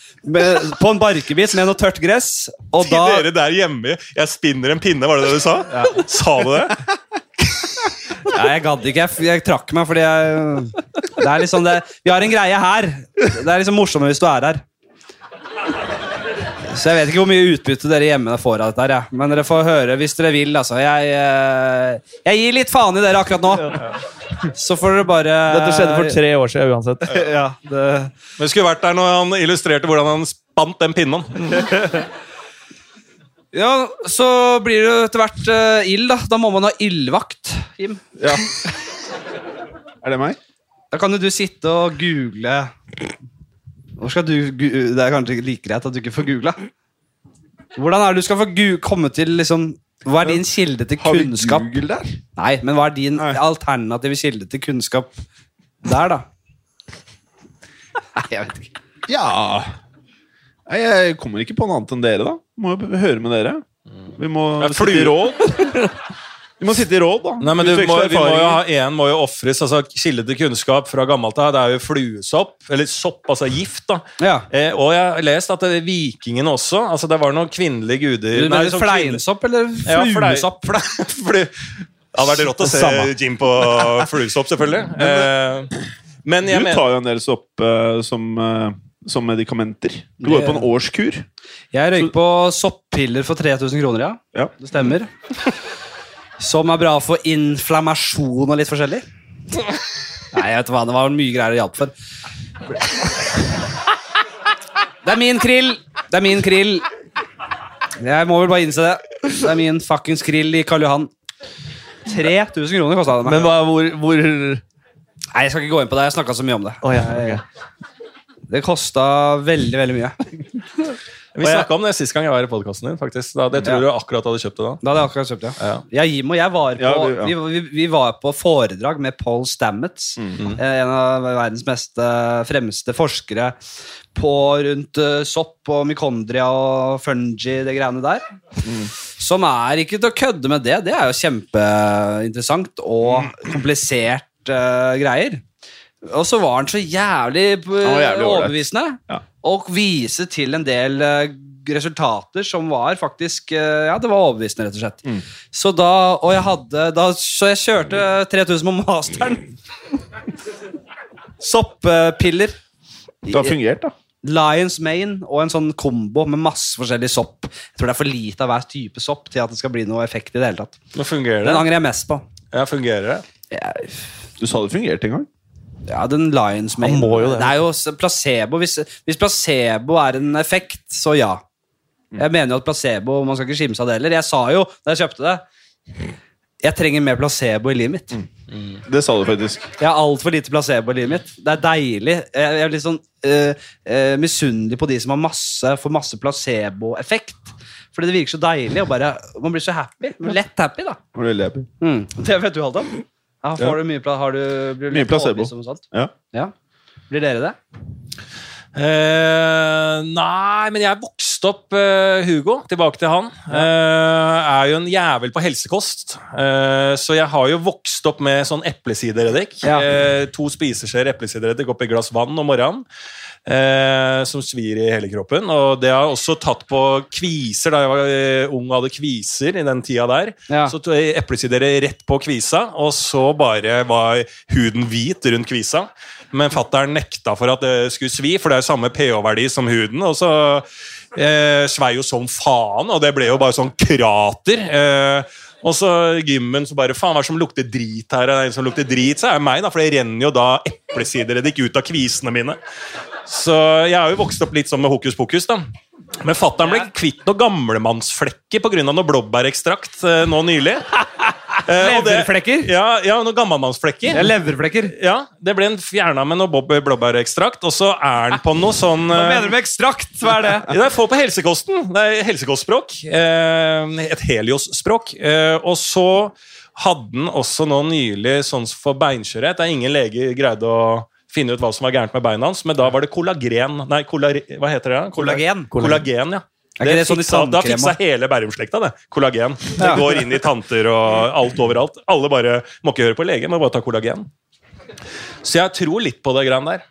S2: [laughs] Med- på en barkebit med noe tørt gress, og
S3: Da...
S2: da
S3: Dere der hjemme, jeg spinner en pinne, var det det du [laughs] sa? Sa du det?
S2: Nei, jeg gadd ikke. Jeg, jeg trakk meg fordi jeg Det er liksom det Vi har en greie her. Det er liksom morsommere hvis du er her. Så jeg vet ikke hvor mye utbytte dere hjemme får av dette her, jeg. men dere får høre hvis dere vil. Altså. Jeg, eh, jeg gir litt faen i dere akkurat nå. Så får dere bare
S4: Dette skjedde for tre år siden uansett.
S2: Ja, det,
S3: Men skulle vært der når han illustrerte hvordan han spant den pinnen.
S2: ja, så blir det jo etter hvert eh, ild, da. Da må man ha ildvakt, Jim.
S6: Er det meg?
S2: Da kan jo du sitte og google Hvor skal du gu- Det er kanskje like greit at du ikke får googla. Hvordan er det du skal få gu- komme til liksom Hva er din kilde til
S6: Har vi
S2: kunnskap?
S6: Google der?
S2: Nei, men hva er din
S6: Nei.
S2: alternative kilde til kunnskap der, da? Nei, jeg vet ikke.
S6: Ja Nei, Jeg kommer ikke på noe annet enn dere, da. Må jo høre med dere. Vi må
S3: Ja,
S6: sitte i
S3: fluer.
S6: råd. Vi må sitte i råd, da.
S3: Nei, men du
S6: Utveksle
S3: må, vi må jo ha
S6: erfaringer.
S3: En må jo ofres. Altså, kilde til kunnskap fra gammelt av det er jo fluesopp. Eller sopp, altså gift. da
S2: Ja.
S3: eh, Og jeg har lest at eh, vikingene også altså Det var noen kvinnelige guder
S2: Du
S3: Nei,
S2: mener
S3: sånn
S2: fleinsopp eller
S3: kvinne- [laughs] ja, flei-
S2: fluesopp?
S3: fle- flu- Det hadde vært rått å se
S4: Samme.
S3: Jim på fluesopp, selvfølgelig. Eh, men jeg
S6: Du
S3: mener
S6: tar jo en del sopp eh, som, eh, som medikamenter. Du går jo på en årskur.
S2: Jeg røyker på soppiller for 3000 kroner, ja.
S6: Ja.
S2: Det stemmer. Som er bra for inflammasjon og litt forskjellig. Nei, jeg vet hva, det var mye greier det hjalp for. Det er min krill! Det er min krill. Jeg må vel bare innse det. Det er min fuckings krill i Karl Johan. 3000 kroner kosta det meg.
S4: Men hva, hvor, hvor
S2: Nei, jeg skal ikke gå inn på det. Jeg snakka så mye om det.
S4: Å, ja, ok.
S2: Det kosta veldig, veldig mye.
S3: Vi snakka om det sist gang jeg var i podkasten din. faktisk. Da, det tror du akkurat hadde kjøpt det da.
S2: Da hadde jeg akkurat kjøpt det.
S3: Ja.
S2: Jeg, Jim og jeg var på,
S6: Ja, vi-
S2: vi, vi, vi var på foredrag med Paul Stamets,
S6: Mhm.
S2: eh, en av verdens mest eh, fremste forskere på rundt eh, sopp og mykondria og fungi, det greiene der. Som er ikke til å kødde med det. Det er jo kjempeinteressant og
S6: Mm.
S2: komplisert eh, greier. Og så var han så jævlig, eh,
S6: var jævlig ålreit.
S2: overbevisende.
S6: Ja.
S2: Og vise til en del eh, resultater som var faktisk eh, Ja, det var overbevisende, rett og slett.
S6: Mm.
S2: Så da Og jeg hadde da, Så jeg kjørte
S6: Mm.
S2: 3000 på masteren. [laughs] Soppepiller.
S6: Det har fungert, da.
S2: Lions Mane og en sånn kombo med masse forskjellig sopp. Jeg tror det er for lite av hver type sopp til at det skal bli noe effekt i det hele tatt.
S3: Nå fungerer
S2: Den
S3: det.
S2: angrer jeg mest på.
S3: Ja, fungerer det.
S2: Jeg-
S6: Du sa det fungerte en gang.
S2: Ja, den Lions Mane.
S4: Han må jo det.
S2: er jo s- placebo. Hvis, hvis placebo er en effekt, så ja.
S4: Mm.
S2: Jeg mener jo at placebo Man skal ikke skimse av det heller. Jeg sa jo da jeg kjøpte det Jeg trenger mer placebo i livet mitt.
S6: Det sa du faktisk.
S2: Jeg har altfor lite placebo i livet mitt. Det er deilig. Jeg jeg er litt sånn eh, eh, misunnelig på de som har masse, får masse placeboeffekt. Fordi det virker så deilig. Og bare, man blir så happy. Lett happy, da.
S6: Var veldig happy.
S2: Mm. Det vet du, Halvdan. Ja, får du mye, pla- har du, blir du
S6: Mye
S2: lett
S6: placebo.
S2: overbevist om sånt?
S6: Ja.
S2: Ja. Blir dere det?
S3: Eh, nei, men jeg vokste opp eh, Hugo, tilbake til han. Eh, er jo en jævel på helsekost. Eh, så jeg har jo vokst opp med sånn eplesidereddik.
S2: Ja.
S3: Eh, to spiseskjeer eplesidereddik oppi glass vann om morgenen. eh, som svir i hele kroppen. Og det har jeg også tatt på kviser da jeg var eh, ung og hadde kviser i den tida der.
S2: Ja.
S3: Så tok jeg eplesider rett på kvisa, og så bare var huden hvit rundt kvisa. Men fattern nekta for at det skulle svi, for det er jo samme pH-verdi som huden. Og så eh, svei jo som faen, og det ble jo bare sånn krater. Eh, og så gymmen så bare Faen, hva er det som lukter drit her? Er det en som lukter drit, så er det meg, da, for det renner jo da eplesidereddik ut av kvisene mine. Så jeg har jo vokst opp litt sånn med hokus pokus, da. Men fatter'n ble kvitt noen gamlemannsflekker pga. noe blåbærekstrakt eh, nå
S2: [laughs]
S3: nylig. Eh, og det-
S2: Leverflekker?
S3: Ja, ja noen gammelmannsflekker.
S2: Jeg leverflekker.
S3: Ja, det ble fjerna med noe bob- blåbærekstrakt, og så er den på noe sånn
S2: Hva
S3: eh,
S2: mener du med ekstrakt? Hva er det?
S3: ja, Det er få på helsekosten. Det er helsekostspråk. Eh, et heliosspråk. Eh, og så hadde den også nå nylig sånn for beinskjørhet. Det er ingen lege greide å finne ut hva som var gærent med beina hans, men da var det kollagen Nei, kollar, hva heter det? da? Kolla-
S2: Kollagen.
S3: Kollagen, ja.
S2: Er ikke det sånn i
S3: fiksa, da
S2: tannkrema?
S3: fiksa hele Bærum-slekta det. Kollagen. Det går inn i tanter og alt overalt. Alle bare må ikke høre på lege, men bare ta kollagen. Så jeg tror litt på det greiene der.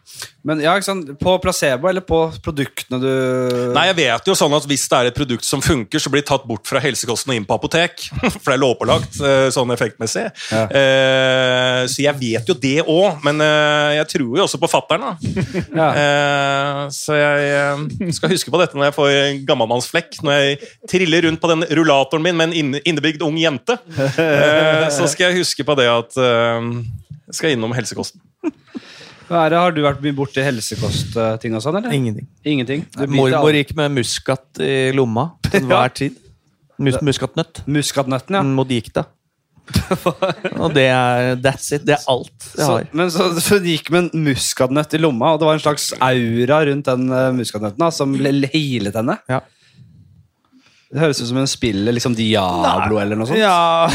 S2: Men ja, ikke sant? På placebo eller på produktene du
S3: Nei, jeg vet jo sånn at Hvis det er et produkt som funker, så blir det tatt bort fra helsekosten og inn på apotek. For det er lovpålagt eh, sånn effektmessig. Eh, Så jeg vet jo det òg, men eh, jeg tror jo også på fattern.
S2: Ja.
S3: Så jeg eh, skal huske på dette når jeg får gammalmannsflekk. Når jeg triller rundt på den rullatoren min med en inne- innebygd ung jente, Eh, så skal jeg huske på det at eh, jeg skal innom helsekosten.
S2: Hva er det, Har du vært mye borti helsekostting og sånn, eller?
S4: Ingenting.
S2: Ingenting. Du biter
S4: Mormor
S2: alle-
S4: gikk med muskat i lomma
S2: [laughs]
S4: til hver tid. Mus muskatnøtt.
S2: Muskatnøtten, ja.
S4: En Hm, Modikta. Og det er that's it. Det er alt jeg
S2: Så,
S4: har.
S2: men så, så det gikk med en muskatnøtt i lomma, og det var en slags aura rundt den eh, muskatnøtten da, som l- healet henne.
S4: Ja.
S2: Det høres ut som hun spiller liksom Diablo eller noe sånt.
S4: Ja.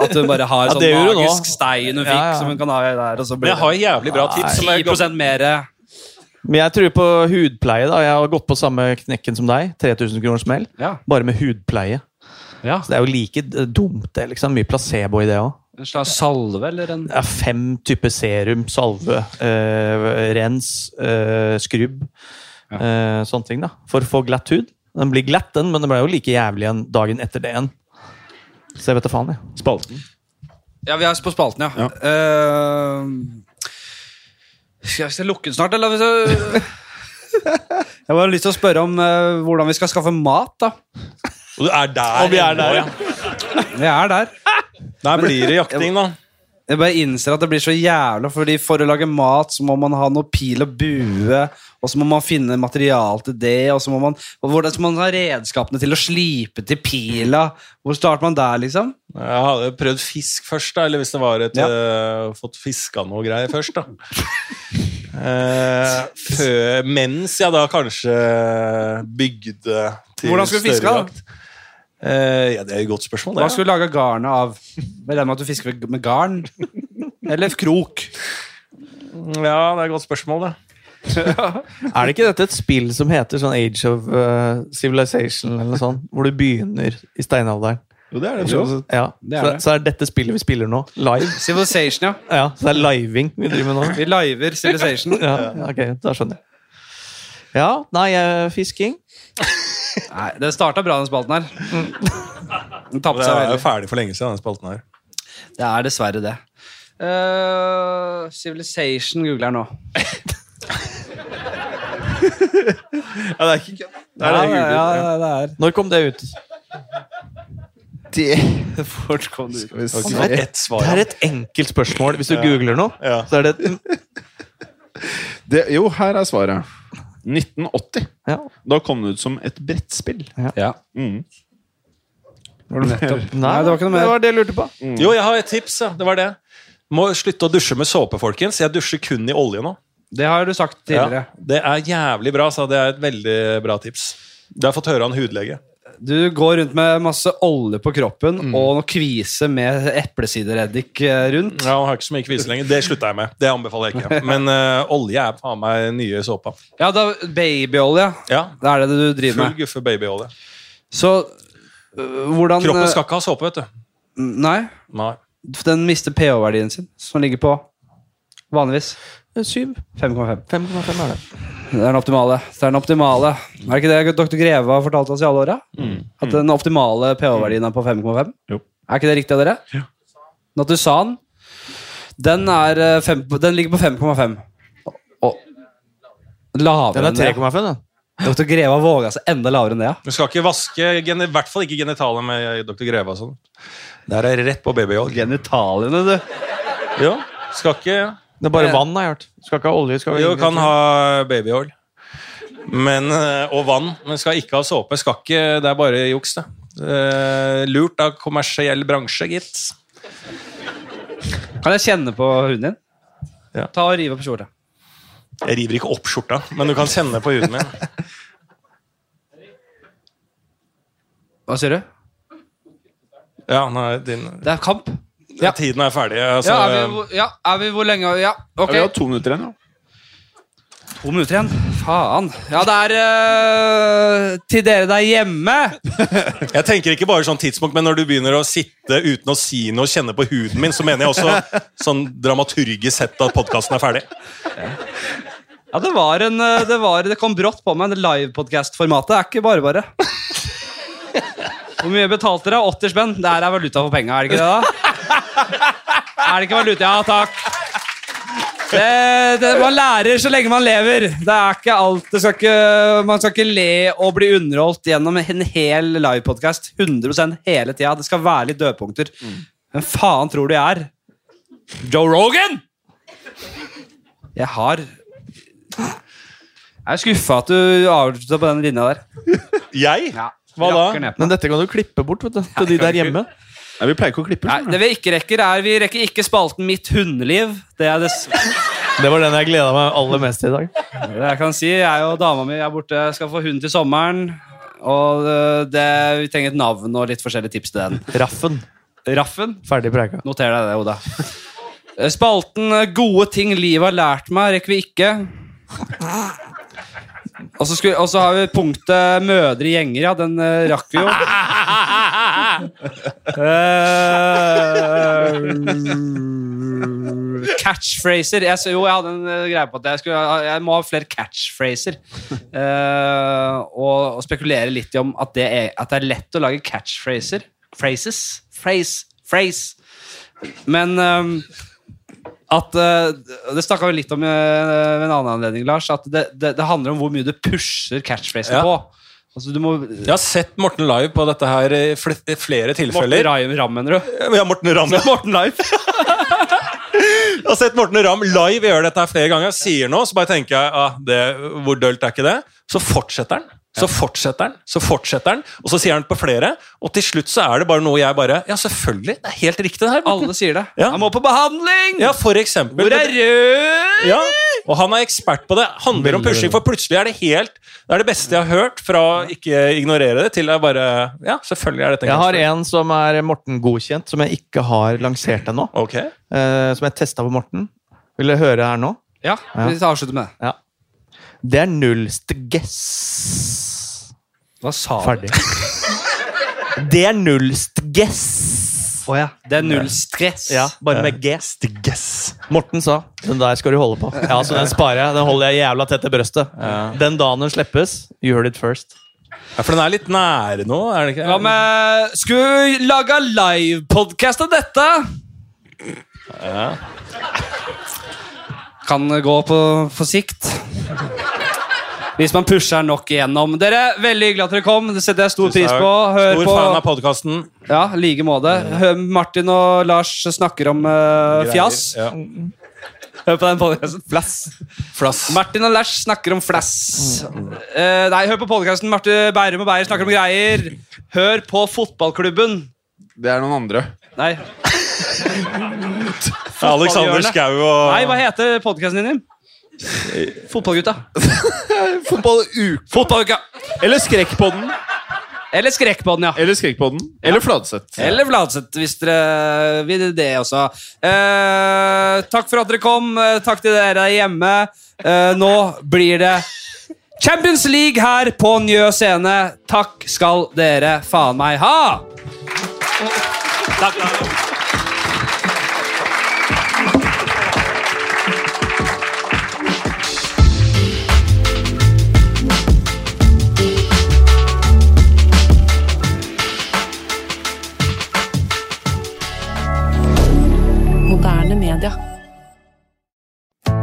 S2: At hun bare har
S4: Ja,
S2: sånn
S4: det gjør hun nå.
S2: magisk stein hun fikk,
S4: Ja, ja.
S2: som hun kan ha der. Og så
S3: Men
S2: blir
S3: jeg har jævlig bra tips. som
S2: det
S3: jeg
S2: 10 mer
S4: Men jeg tror på hudpleie. da Jeg har gått på samme knekken som deg. 3000 kroner smell.
S2: Ja.
S4: Bare med hudpleie.
S2: Ja.
S4: Så det er jo like d- dumt, det. liksom Mye placebo i det òg.
S2: En slags salve eller en
S4: Det er fem typer serum, salve, eh, rens, eh, skrubb. eh, sånne ting, da. For å få glatt hud. Den blir glatt, den, men den ble jo like jævlig igjen dagen etter det igjen. Så jeg vet da faen, jeg.
S6: Spalten.
S2: Ja, vi er på spalten, ja. Eh, skal jeg skal jeg lukke den snart, eller? [laughs] jeg bare har lyst til å spørre om eh, hvordan vi skal skaffe mat, da.
S3: Og du er der.
S4: Og vi er der, ja.
S2: Vi er der.
S3: Der blir det jakting, da.
S2: Jeg bare innser at det blir så jævla Fordi for å lage mat så må man ha noe pil og bue og så må man finne material til det, og så må man og Hvordan skal man ha redskapene til å slipe til pila? Hvor starter man der, liksom?
S3: Jeg hadde prøvd fisk først, da, eller hvis det var et
S2: Ja.
S3: øh, Fått fiska noe greier først, da. [laughs] Eh, før, mens jeg da kanskje bygde til
S2: Hvordan skulle du fiske,
S3: større
S2: da?
S3: jakt. Eh, ja, det er jo et godt spørsmål, det.
S2: Hva skulle du lage garnet av? Jeg regner med at du fisker med- med garn. Eller krok.
S3: ja. ja, det er et godt spørsmål, det.
S4: Er det ikke dette et spill som heter sånn Age of eh, Civilization eller noe sånt? Hvor du begynner i steinalderen.
S6: Jo, det er det. sånn sett.
S4: Ja.
S2: Det er
S4: så,
S2: det.
S4: så er dette spillet vi spiller nå, live.
S2: Civilization, ja.
S4: Ja, Så det er living vi driver med nå.
S2: Vi liver Civilization.
S4: Ja, ok, da skjønner jeg. Ja, nei, eh, fisking.
S2: Nei, det starta bra, den spalten her. Den tapte
S3: Det
S2: seg
S3: er jo
S2: veldig.
S3: ferdig for lenge siden, den spalten her.
S2: Det er dessverre det. Eh, Civilization googler jeg nå.
S6: Ja, det er ikke kødd. Det
S2: Ja,
S6: er det jeg googlet.
S2: ja, det er.
S4: Når kom det ut?
S6: Det
S2: Fort kom det ut.
S6: skal vi
S3: Det
S6: se.
S3: var ett svar.
S4: Det er et enkelt spørsmål. Hvis du googler noe,
S3: Ja.
S4: så er det et-
S6: Det, jo, her er svaret. 1980.
S4: ja.
S6: Da kom det ut som et brettspill.
S2: Ja.
S6: Mm.
S2: Var det nettopp?
S4: Nei,
S2: Nei, det var ikke noe
S4: Det
S2: mer.
S4: var det jeg lurte på.
S3: Jo, jeg har et tips, ja. Det var det. Må slutte å dusje med såpe, folkens. Jeg dusjer kun i olje nå.
S2: Det har du sagt tidligere.
S3: Ja, det er jævlig bra, sa Det er et veldig bra tips. Det har jeg fått høre av en hudlege.
S2: Du går rundt med masse olje på kroppen og noe kvise med eplesidereddik eh, rundt.
S3: Ja, han har ikke så mye kvise lenger. Det slutta jeg med. Det anbefaler jeg ikke. Men eh, olje er faen meg den nye såpa.
S2: Ja, da babyolje.
S3: Ja,
S2: Det er det du driver
S3: Full
S2: med.
S3: guffe babyolje.
S2: Så øh, hvordan
S3: Kroppen skal ikke ha såpe, vet du.
S2: øh, Nei.
S3: Nei.
S2: Den mister pH-verdien sin, som ligger på vanligvis
S4: Syv.
S2: 5,5.
S4: 5,5 er det.
S2: Det er den optimale. Det er den optimale. Er det ikke det dr. Greve har fortalt oss i alle åra? At den optimale pH-verdien er på 5,5?
S6: Jo.
S2: Er ikke det riktig av dere? Ja. Natusan, den, er eh, fem, den ligger på 5,5. Og- Lavere
S4: Den
S2: enn
S4: er
S2: det.
S4: 3,5, da.
S2: Dr. Greve har våga seg enda lavere enn det, ja.
S3: Du skal ikke vaske, geni- i hvert fall ikke genitaliet med Dr. Greve og sånn. Der er jeg rett på babyolje.
S2: Genitaliene, du.
S3: Jo, skal ikke
S4: Det er bare vann, har jeg hørt. Skal ikke ha olje. Skal
S3: Jo, kan ha babyolje. Men, eh, og vann. Men skal ikke ha såpe. Skal ikke, det er bare juks, det. Eh, lurt av kommersiell bransje, gitt.
S2: Kan jeg kjenne på huden din?
S3: Ja.
S2: Ta og rive på skjorta.
S3: Jeg river ikke opp skjorta, men du kan kjenne på huden min.
S2: Hva sier du?
S3: Ja, nei, din,
S2: Det er kamp.
S3: Tiden er ferdig. Altså,
S2: Ja, er vi, hvor- ja, er vi hvor lenge Ja, ok.
S6: Ja, vi har to minutter igjen, ja.
S2: To minutter igjen. Faen. Ja, det er øh, til dere der hjemme.
S3: Jeg tenker ikke bare sånn tidspunkt, men når du begynner å sitte uten å si noe og kjenne på huden min, så mener jeg også sånn dramaturgisk sett at podkasten er ferdig.
S2: Ja, det var en øh, Det, var, det kom brått på meg. Det livepodkast-formatet er ikke bare bare. Hvor mye betalte dere? 80 spenn? Det her er valuta for penga, er det ikke det? da? Er det ikke valuta? Ja, takk. Det, det, man lærer så lenge man lever. Det er ikke alt, det skal ikke, Man skal ikke le og bli underholdt gjennom en hel livepodkast 100 hele tida. Det skal være litt dødpunkter. Hvem faen tror du jeg er? Joe Rogan! Jeg har Jeg er skuffa at du avslutta på den linja der.
S3: Jeg?
S2: Ja.
S3: Hva da?
S2: Rakker ned på.
S4: Men dette kan du klippe bort vet du, til de der hjemme.
S6: Nei, vi pleier ikke å klippe.
S2: Nei, det vi ikke rekker, er Vi rekker ikke spalten Mitt hundeliv. Det er dess...
S4: Det var den jeg gleda meg aller mest til i dag.
S2: Det jeg kan si, jeg og dama mi er borte, skal få hund til sommeren. Og øh, det, vi trenger et navn og litt forskjellige tips til den.
S4: Raffen.
S2: Raffen.
S4: Ferdig preika.
S2: Noter deg det, Oda. Spalten eh, 'Gode ting livet har lært meg' rekker vi ikke. Og så, skulle, og så har vi punktet 'Mødre i gjenger'. Ja, den eh, rakk vi jo. Eh, catchphraser. Jeg, s- jo, jeg hadde en eh, greie på at jeg, skulle, ha- jeg må ha flere [laughs] catchphraser. Eh, og, og spekulere litt i om at det, er, at det er lett å lage catchphraser. Phrases. Phrase. Phrase. Men ehm, at eh, Det snakka vi litt om eh, ved en annen anledning, Lars. At det, det, det handler om hvor mye du pusher catchphrasen
S3: Ja.
S2: på. Altså, du må
S3: Jeg har sett Morten live på dette her i fl- flere
S2: Morten
S3: tilfeller.
S2: Ramm, mener du?
S3: Ja, Morten Ramm.
S2: Morten Live.
S3: Jeg har sett Morten Ramm live gjøre dette her flere ganger. Jeg Sier noe, så bare tenker jeg ah, det, Hvor dølt er ikke det? Så fortsetter han. Så fortsetter han, så fortsetter han, og så sier han det på flere. Og til slutt så er det bare noe jeg bare Ja, selvfølgelig. Det er helt riktig, det her. Morten.
S2: Alle sier det.
S3: Ja.
S2: Han må på behandling!
S3: Ja, for eksempel.
S2: Hvor er rød?
S3: Ja, og han er ekspert på det. Handler om pushing, for plutselig er det helt Det er det beste jeg har hørt, fra å ikke ignorere det til jeg bare Ja, selvfølgelig er dette
S4: Jeg har
S3: en
S4: en som er Morten godkjent, som jeg ikke har lansert ennå.
S3: Ok.
S4: eh, Som jeg testa på Morten. Vil du høre her nå?
S2: Ja, vi avslutter med det.
S4: Det er nullstgess.
S2: Hva sa
S4: Ferdig. Det er nullstgess.
S2: Å ja. Det er null stress.
S4: Ja, bare med G. Morten sa den der skal du holde på. Ja, så den sparer jeg. Den holder jeg jævla tett til brøstet. Den dagen den slippes, you heard it first.
S3: Ja, for den er litt nære nå, er det ikke?
S2: Hva med Skulle vi lage livepodkast av dette? Kan gå på, på sikt. Hvis man pusher nok igjennom. Dere, Veldig hyggelig at dere kom. Det setter jeg stor pris på. Hør
S3: Stor
S2: på
S3: fan av podkasten.
S2: Ja, i like måte. Hør Martin og Lars snakker om eh, fjas.
S3: Ja.
S2: Hør på den podcasten. Flass. Martin og Lars snakker om flass. Eh, nei, hør på podkasten. Martin Bærum og Beyer snakker om greier. Hør på fotballklubben.
S6: Det er noen andre.
S2: Nei,
S3: Alexander Skau og
S2: nei hva heter podkasten din? Jim? Fotballgutta.
S6: Fotballuke.
S2: Fotballuka!
S6: Eller Skrekkpodden.
S2: Eller Skrekkpodden, ja.
S6: Eller Skrekkpodden. Eller Fladseth.
S2: Eller Fladseth, hvis dere vil det også. Eh, takk for at dere kom. Eh, Takk til dere der hjemme. Eh, nå blir det Champions League her på Njø scene. Takk skal dere faen meg ha!
S7: Moderne media.